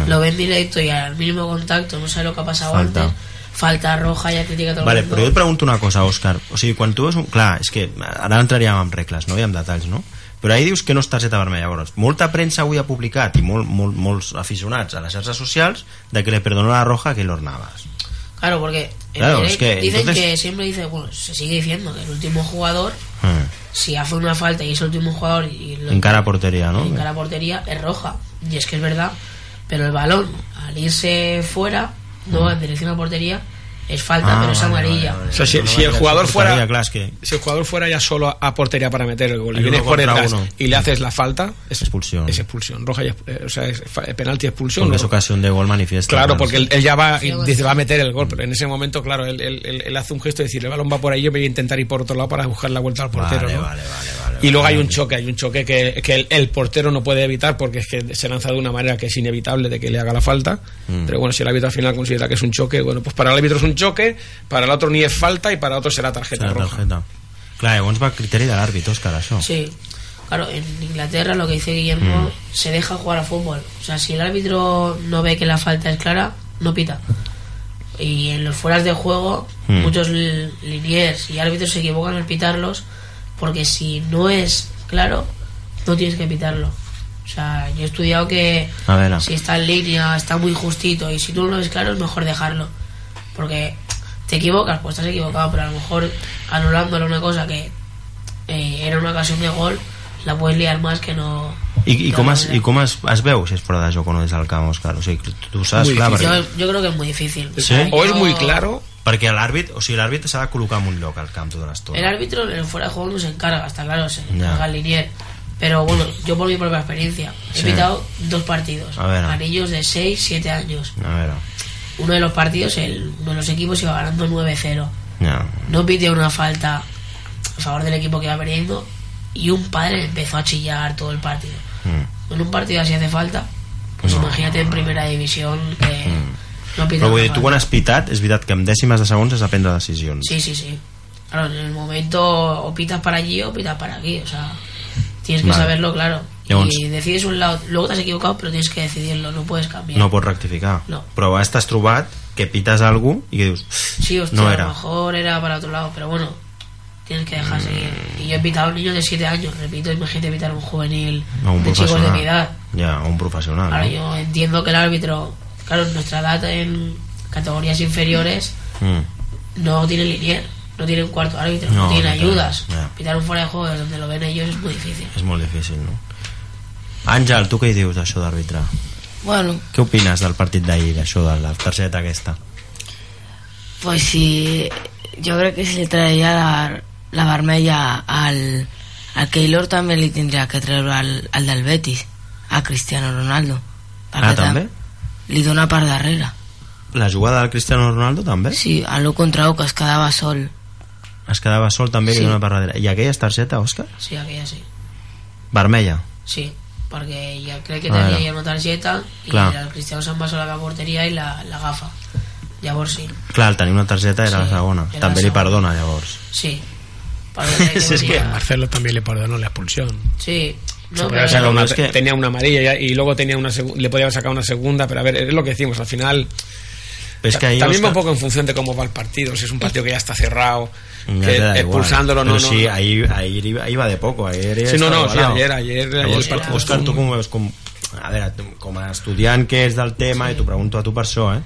S4: Lo ve en directo y al mínimo contacto, no sabe lo que ha pasado
S2: Falta.
S4: antes. Falta roja, ya critica todo
S2: Vale,
S4: el mundo.
S2: però jo et pregunto una cosa, Òscar. O sigui, quan tu veus un... Clar, és que ara entraríem en regles, no? I en detalls, no? Però ahir dius que no és targeta vermella. Llavors, molta premsa avui ha publicat i molt, molt, molts aficionats a les xarxes socials de que le perdonó la roja que Keylor Navas.
S4: Claro, porque en
S2: Claro,
S4: direct
S2: es que
S4: dicen
S2: entonces-
S4: que siempre dice, bueno, se sigue diciendo que el último jugador,
S2: Mm.
S4: si hace una falta y es el último jugador y lo
S2: Encara a porteria, no?
S4: en cara a portería, es roja. Y es que es verdad, pero el balón, al irse fuera, no en dirección a portería, es falta,
S2: Mm. Ah,
S4: pero es
S2: vale,
S4: amarilla.
S3: O sea, si, si el jugador
S2: Porteria,
S3: fuera
S2: clar, és que...
S3: si el jugador fuera ya solo a, a portería para meter el gol y
S2: El
S3: vienes
S2: uno
S3: por
S2: contra
S3: detrás
S2: uno.
S3: y le haces la falta, es,
S2: Expulsión.
S3: es expulsión. Roja, y exp- eh, o sea, es fa- penalti expulsión.
S2: Porque
S3: ¿no?
S2: es ocasión de gol manifiesta.
S3: Claro,
S2: Clar,
S3: porque
S2: sí.
S3: él, él ya va y dice, va a meter el gol, pero en ese momento, claro, él, él- él- él hace un gesto de decir, el balón va por ahí, yo voy a intentar ir por otro lado para buscar la vuelta al portero.
S2: Vale,
S3: ¿no?
S2: vale, vale, vale.
S3: Y luego hay un choque, hay un choque que, que el, el portero no puede evitar porque es que se lanza de una manera que es inevitable de que le haga la falta.
S2: Mm.
S3: Pero bueno, si el árbitro al final considera que es un choque, bueno, pues para el árbitro es un choque, para el otro ni es falta y para otro será tarjeta
S2: Serà
S3: roja.
S2: targeta. Clar, llavors va a criteri de l'àrbit, Òscar, això.
S4: Sí. Claro, en Inglaterra lo que dice Guillermo, se deja jugar a fútbol. O sea, si el árbitro no ve que la falta es clara, no pita. Y en los fueras de juego,
S10: Mm.
S4: muchos li- liniers y árbitros se equivocan al pitarlos, porque si no es claro, no tienes que pitarlo. O sea, yo he estudiado que
S2: A veure.
S4: si está en línea, está muy justito, y si tú no lo ves claro, es mejor dejarlo. Porque te equivocas, pues estás equivocado, pero a lo mejor anulándole una cosa que eh, era una ocasión de gol, la puedes liar más que no.
S2: I, i
S4: que
S2: com,
S4: no
S2: es,
S3: eh.
S4: era.
S2: i com es, es veu si és fora de joc o no des del camp, Òscar? O sigui, tu- tu ho saps,
S3: Muy
S2: clar,
S3: difícil.
S2: perquè...
S4: Yo, yo creo que es muy difícil.
S2: Sí?
S4: O es muy
S3: claro...
S2: Perquè l'àrbit, o sigui, l'àrbit s'ha de col·locar en un lloc al camp tota
S4: El
S2: l'estona.
S4: árbitro en el fuera de juego no se encarga, está claro, se
S2: Ya.
S4: encarga el linier. Pero bueno, yo por mi propia experiencia he
S2: Sí.
S4: pitado dos partidos,
S2: A ver.
S4: anillos de 6, 7 años.
S2: A veure...
S4: Uno de los partidos, el, uno de los equipos iba ganando 9-0.
S2: Ja.
S4: No pidió una falta a favor del equipo que iba perdiendo y un padre empezó a chillar todo el partido.
S2: Mm.
S4: En un partido así hace falta, pues
S2: No. Mm.
S4: imagínate en primera división que no pita
S2: Però vull dir,
S4: una
S2: tu
S4: falta.
S2: quan has pitat, és veritat que en dècimes de segons has de prendre decisions.
S4: Sí, sí, sí. Claro, en el momento o pitas para allí o pitas para aquí, o sea, tienes que
S2: Vale.
S4: saberlo, claro.
S2: Llavors-
S4: Y decides un lado, luego te has equivocado, pero tienes que decidirlo, no puedes cambiar.
S2: No pots rectificar.
S4: No.
S2: Però has t'has trobat que pites algú i que dius...
S4: Sí, hostia,
S2: no
S4: a
S2: era. Mm.
S4: lo mejor era para otro lado, pero bueno, tienes que dejar seguir. Y yo he pitado a un niño de 7 años, repito, imagínate pitar a un juvenil
S2: O un
S4: de chicos de
S2: professional.
S4: mi edad.
S2: Ja, o un professional.
S4: Ahora
S2: no?
S4: yo entiendo que el árbitro, claro, en nuestra edad en categorías inferiores
S2: Mm.
S4: no tiene linier, no tiene un cuarto árbitro, no,
S2: No,
S4: tiene
S2: no,
S4: ayudas.
S2: ya.
S4: Pitar un fuera de juego donde lo ven ellos es muy difícil.
S2: És molt difícil, no? Àngel, tu què hi dius d'això d'àrbitre?
S5: Bueno,
S2: Què opines del partit d'ahir, d'això de la tercera aquesta?
S5: pues si yo creo que si le traía la, la vermella al, al Keylor también le tendría que traer al, al del Betis, a Cristiano Ronaldo.
S2: Ah,
S5: Perquè tam-
S2: també?
S5: Li dona per darrere.
S2: La jugada del Cristiano Ronaldo també?
S5: Sí, a lo contrau, que es quedava sol.
S2: Es quedava sol també sí.
S5: Sí.
S2: i dona per darrere. I aquella és targeta, Òscar?
S4: Sí, aquella sí.
S2: Vermella.
S4: Sí, porque ya cree que
S2: Ah,
S4: tenía
S2: ya.
S4: ya una tarjeta y
S2: Claro.
S4: al Cristiano se han pasado la portería y la, la gafa. Llavors sí,
S2: Clar, el tenir una targeta era
S4: Sí,
S2: la segona.
S4: era la
S2: També li
S4: segona.
S2: perdona, llavors.
S4: sí.
S3: *laughs* Sí, es que a
S4: sí.
S3: Marcelo también le perdonó la expulsión.
S4: sí.
S3: Se
S4: No,
S3: podía
S4: pero-
S3: sacar una-
S2: es que-
S3: Tenía una amarilla ya- y luego tenía una segu- le podía sacar una segunda, pero a ver, es lo que decimos, al final
S2: Però és que ahir,
S3: también va un
S2: Òscar,
S3: poco en función de cómo va el partido, si es un partido que ya está cerrado,
S2: ja
S3: que
S2: Mm, te da igual.
S3: Eh, expulsándolo no,
S2: Pero
S3: no,
S2: sí,
S3: no.
S2: ahir, ahir iba, iba de poco. Ahir
S3: Sí, no,
S2: estava
S3: no, sí,
S2: igualado.
S3: ayer, ayer, ayer
S2: Llavors,
S3: el partit
S2: Òscar,
S3: com-
S2: tu com, veus, com, a veure, tu, com a estudiant que és del tema, i t'ho pregunto a tu per això, eh?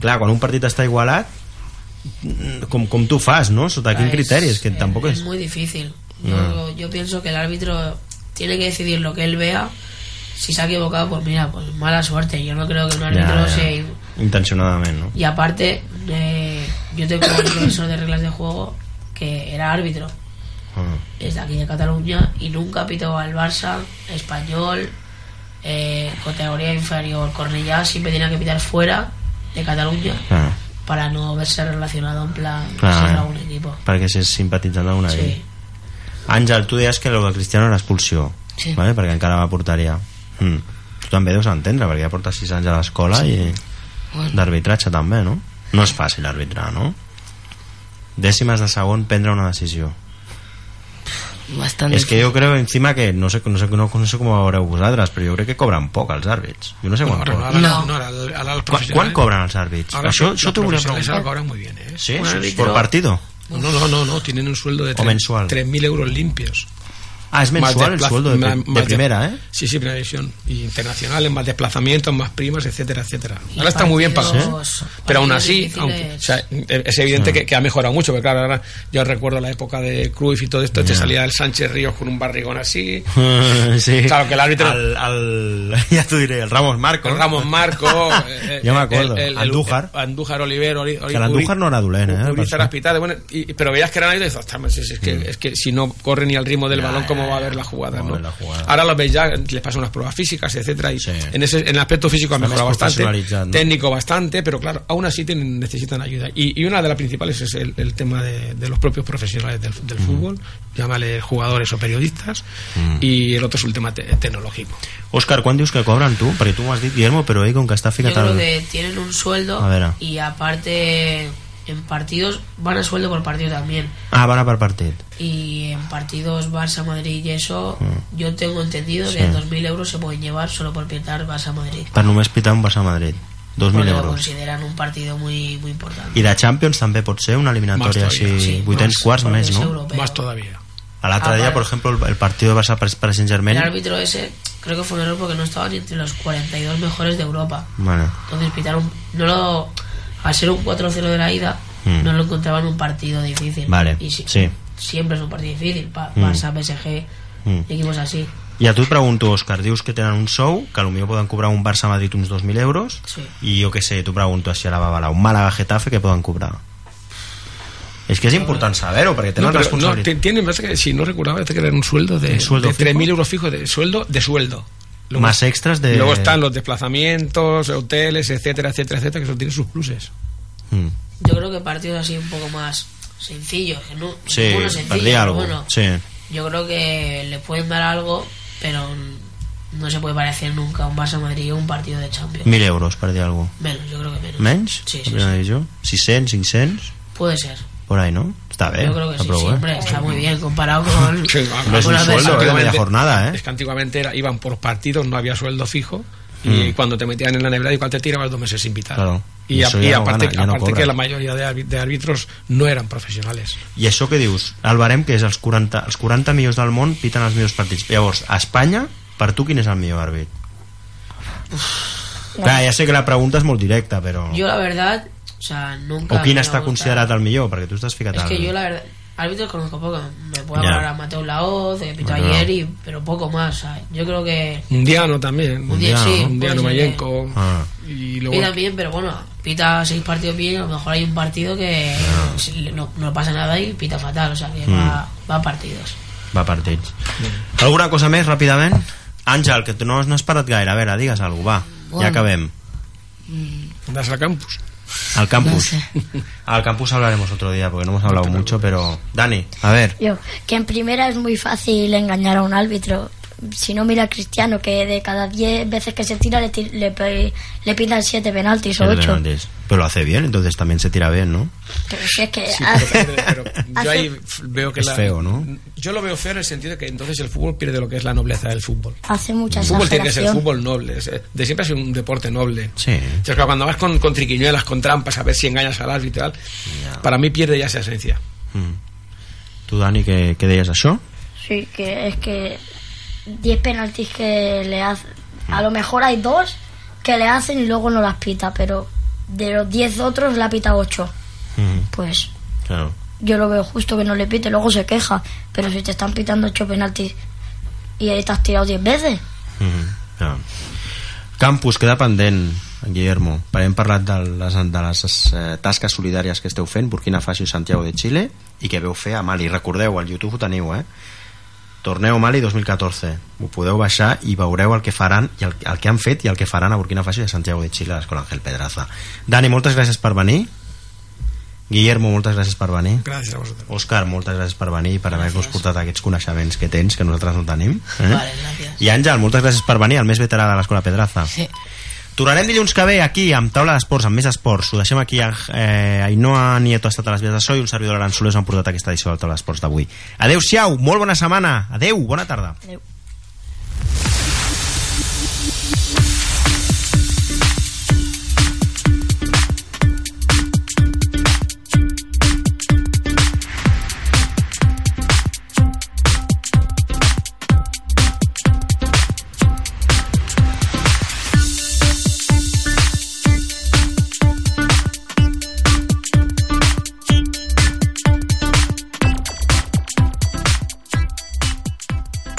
S2: Clar, quan un partit està igualat, mm, com, com tu fas, no? Sota quin
S4: Es-
S2: criteri? És que tampoc
S4: es
S2: és...
S4: muy difícil. Yo,
S2: No.
S4: yo pienso que el árbitro tiene que decidir lo que él vea. Si se ha equivocado, pues mira, pues mala suerte. Yo no creo que un árbitro se...
S2: Intencionadament, no?
S4: Y aparte, eh, yo tengo un profesor de reglas de juego que era árbitro
S2: Ah.
S4: desde aquí de Cataluña y nunca pitó al Barça, español, eh, categoría inferior, Cornellá, siempre tenía que pitar fuera de Cataluña
S2: Ah, eh.
S4: para no verse relacionado en plan
S2: Claro.
S4: ser a un equipo.
S2: perquè si és simpatitzant d'una
S4: Oh. Sí.
S2: sí. Àngel, tu deies que el de Cristiano era expulsió
S5: Sí.
S2: vale? perquè encara va portaria mm. tu també deus entendre perquè ja porta 6 anys a l'escola sí. i
S5: Bueno,
S2: d'arbitratge també, no? no és fàcil arbitrar, no? dècimes de segon prendre una decisió
S5: bastant
S2: és que jo crec encima que no sé, no sé, no, no sé com ho veureu vosaltres però jo crec que cobren poc els àrbits jo no sé quan
S3: Ahora,
S2: cobren
S3: ahora,
S5: No.
S3: no, ahora, ahora los
S2: quan,
S3: profesionales-
S2: quan cobren els àrbits?
S3: ahora
S2: això,
S3: los
S2: això t'ho volia
S3: profesionales ahora
S2: preguntar
S3: cobran muy bien, ¿eh?
S2: sí,
S4: Un
S2: sí, sí,
S4: àrbitro-
S2: por partido
S3: No, no, no, no, tienen un sueldo de tres-
S2: mensual.
S3: 3.000 euros limpios.
S2: ah, és mensual el
S3: desplaza-
S2: sueldo de,
S3: más-
S2: pri- de
S3: más
S2: primera, eh?
S3: Sí, sí, primera división. Y internacionales, más desplazamientos, más primas, etcétera, etcétera. Ahora está muy bien pasado.
S4: partidos-
S3: Pero aún
S4: partidos
S3: así,
S4: difíciles.
S3: aunque, o sea, es
S2: Mm.
S3: evidente que, que ha mejorado mucho, porque claro, ahora yo recuerdo la época de Cruyff y todo esto, te salía el Sánchez Ríos con un barrigón así,
S2: sí.
S3: Claro, que el árbitro-
S2: Al, al- *laughs* ya te diré, el Ramos Marco.
S3: con Ramos
S2: *laughs*
S3: Marco, eh, eh,
S2: Yo me acuerdo, Andújar.
S3: Andújar Olivero, Oli- Oli-
S2: Que l'Andújar no era dolent, eh? per
S3: Urizar
S2: això.
S3: Azpitade, bueno, y- pero veías que eran ahí y dices, "Ostras, si es, que, es que si no corre ni al ritmo del
S2: Ya,
S3: balón, ¿cómo
S2: ya,
S3: va a
S2: ya.
S3: ver la jugada?
S2: ¿Cómo
S3: ¿no?
S2: ver la jugada?
S3: Ahora los veis ya, les pasan unas pruebas físicas, etcétera, y
S2: Sí.
S3: en, ese, en el aspecto físico han
S2: Está
S3: mejorado
S2: más
S3: bastante,
S2: profesionalizado, ¿no?
S3: técnico bastante, pero claro, aún así tienen, necesitan ayuda. Y, y una de las principales es el, el tema de, de los propios profesionales del, del
S2: Mm.
S3: fútbol, llámale jugadores o periodistas, y el otro es el tema te- tecnológico.
S2: Òscar, quan dius que cobren tu? Perquè tu m'ho has dit, Guillermo, però ell com que està
S4: Yo
S2: ficat
S4: creo
S2: al...
S4: que tienen un sueldo
S2: A ver. ah.
S4: y aparte en partidos van a sueldo por partido también.
S2: Ah, van a per partit.
S4: Y en partidos Barça-Madrid y eso,
S2: Mm.
S4: yo tengo entendido que 2.000 euros se pueden llevar solo por pitar Barça-Madrid.
S2: Per només pitar un Barça-Madrid. 2.000
S4: Porque lo
S2: euros.
S4: consideran un partido muy, muy importante.
S2: I de Champions també pot ser una eliminatòria
S3: Más todavía,
S2: així,
S4: sí,
S2: Mm, vuitens
S4: más,
S2: quarts
S4: porque
S2: més,
S4: es
S2: no?
S4: europeo.
S3: Más todavía.
S2: A l'altre
S4: Ah,
S2: dia,
S4: vale.
S2: per exemple, el, el partit de Barça per, per Sant Germain...
S4: El árbitro ese creo que fue un error porque no estaba ni entre los 42 mejores de Europa.
S2: Bueno,
S4: Entonces pitaron, no lo, al ser un 4-0 de la ida,
S2: Mm.
S4: no lo encontraban un partido difícil.
S2: Vale,
S4: Y si-
S2: sí.
S4: Siempre es un partido difícil, pa-
S2: Mm.
S4: Barça, PSG,
S2: Mm.
S4: equipos así.
S2: I a tu et pregunto, Òscar, dius que tenen un sou, que potser poden cobrar un Barça-Madrid uns 2.000 euros,
S4: Sí.
S2: i jo que sé, t'ho pregunto així a la Babalà, un Màlaga-Getafe que poden cobrar? És que és important saber-ho, perquè tenen
S3: No,
S2: no,
S3: pero no,
S2: responsabilitat.
S3: ti- tiene, me parece que si no recordaba, parece que era un sueldo de,
S2: ¿Un sueldo
S3: de
S2: fijo?
S3: 3.000 euros fijos de sueldo, de sueldo. Luego-
S2: Más extras de-
S3: Luego están los desplazamientos, hoteles, etcétera, etcétera, etcétera, que eso tiene sus pluses.
S2: Mm.
S4: Yo creo que partidos así un poco más sencillos, que no,
S2: Sí,
S4: ninguno sencillo,
S2: per dir
S4: pero
S2: alguna
S4: bueno,
S2: Sí.
S4: yo creo que le pueden dar algo, pero no se puede parecer nunca a un Barça Madrid o un partido de Champions.
S2: 1.000 euros, per dir alguna cosa.
S4: Menos, yo creo que menos.
S2: Menys?
S4: Sí,
S2: La
S4: sí,
S2: primera
S4: sí.
S2: divisió? 600, 500?
S4: Puede ser.
S2: Por ahí, no? Està bé.
S4: yo creo que
S2: està
S4: sí,
S2: prou,
S4: siempre
S2: eh?
S4: está muy bien comparado
S2: *laughs*
S4: con.
S3: Sí, va,
S4: con
S3: va,
S2: es un
S4: algunas veces.
S2: sueldo, eh, de media
S3: Antiguamente-
S2: jornada, eh.
S3: Es que antiguamente era- iban por partidos, no había sueldo fijo. Y cuando te metían en la nevera, igual te tirabas dos meses sin pitar.
S2: Mm. Claro. Y
S3: Y, a-
S2: eso
S3: y
S2: ya no
S3: aparte,
S2: gana, ya no
S3: aparte
S2: cobra.
S3: que la mayoría de, árbi- de árbitros no eran profesionales.
S2: I això que dius, el barem que és els 40, els 40 millors del món piten els millors partits. Llavors, a Espanya, per tu quin és el millor àrbit? Clar, ja sé que la pregunta és molt directa, però...
S4: Yo, la verdad, o sea, nunca.
S2: O quin
S4: me
S2: està
S4: ha
S2: considerat
S4: gustado.
S2: el millor, perquè tu estàs ficat
S4: Es que
S2: al-
S4: yo, la verdad, árbitros conozco poco. Me puedo
S2: Ya.
S4: hablar a Mateo Laoz, de Pito
S2: Bueno.
S4: ayer, y, pero poco más. o sea, Yo creo que.
S3: Un diano también.
S4: Un día
S2: Mundiano,
S4: sí.
S2: ¿no?
S3: Un diano
S4: puede ser que
S3: Mayenco.
S2: Ah.
S3: Y luego.
S4: Pita bien, pero bueno, pita seis partidos bien. A lo mejor hay un partido que si- no, no pasa nada y pita fatal. O sea,
S2: Hmm.
S4: que va, va a partidos.
S2: Va a partits. Alguna cosa més, ràpidament? Àngel, que tu no, no has parat gaire. A veure, digues alguna cosa, va.
S5: Bueno.
S2: Ja acabem.
S3: Andas al campus.
S2: Al campus.
S5: No
S2: *laughs* Al campus hablaremos otro día, porque no hemos hablado mucho, pero... Dani, a ver.
S6: Yo, que en primera es muy fácil engañar a un árbitro. si no mira a Cristiano, que de cada 10 veces que se tira le, ti- le, pe- le pitan 7 penaltis o
S2: Siete
S6: 8.
S2: penaltis. Pero lo hace bien, entonces también se tira bien, ¿no?
S6: Pero si es que...
S3: Sí,
S6: hace-
S3: pero, pero yo ahí f- veo que
S2: Es
S3: la-
S2: feo, ¿no?
S3: Yo lo veo feo en el sentido de que entonces el fútbol pierde lo que es la nobleza del fútbol.
S6: Hace mucha
S3: El fútbol tiene que ser
S6: exageración.
S3: fútbol noble. es- eh, De siempre ha sido un deporte noble.
S2: Sí.
S3: Entonces, claro, cuando vas con, con triquiñuelas, con trampas, a ver si engañas al árbitro y tal, para mí pierde ya esa esencia.
S2: Tu, Mm. Dani, què, què deies això?
S6: Sí, que es que 10 penaltis que le hacen. A lo mejor hay dos que le hacen y luego no las pita, pero de los 10 otros la pita 8. Pues
S2: Claro.
S6: yo lo veo justo que no le pite, luego se queja. Pero si te están pitando 8 penaltis y ahí te has tirado 10 veces.
S2: Mm, ja. Campus, queda pendent, Guillermo. Per- Hem parlat de les, de les eh, tasques solidàries que esteu fent, Burkina Faso i Santiago de Xile, i que veu fer a Mali. Recordeu, al YouTube ho teniu, eh? Torneu Mali 2014. Ho podeu baixar i veureu el que faran i el, el que han fet i el que faran a Burkina Faso i a Santiago de Xile a l'escola Ángel Pedraza. Dani, moltes gràcies per venir. Guillermo, moltes gràcies per venir.
S3: Gràcies a vosaltres.
S2: Òscar, moltes gràcies per venir i per haver-nos portat aquests coneixements que tens, que nosaltres no tenim. Eh? Vale, I Àngel, moltes gràcies per venir, el més veterà de l'Escola Pedraza. Sí. Tornarem dilluns que ve aquí amb taula d'esports, amb més esports. Ho deixem aquí. Eh, Ainhoa Nieto ha estat a les vies de so i un servidor Aran Soler us han portat aquesta edició de la taula d'esports d'avui. Adeu-siau, molt bona setmana. Adeu, bona tarda.
S6: Adeu.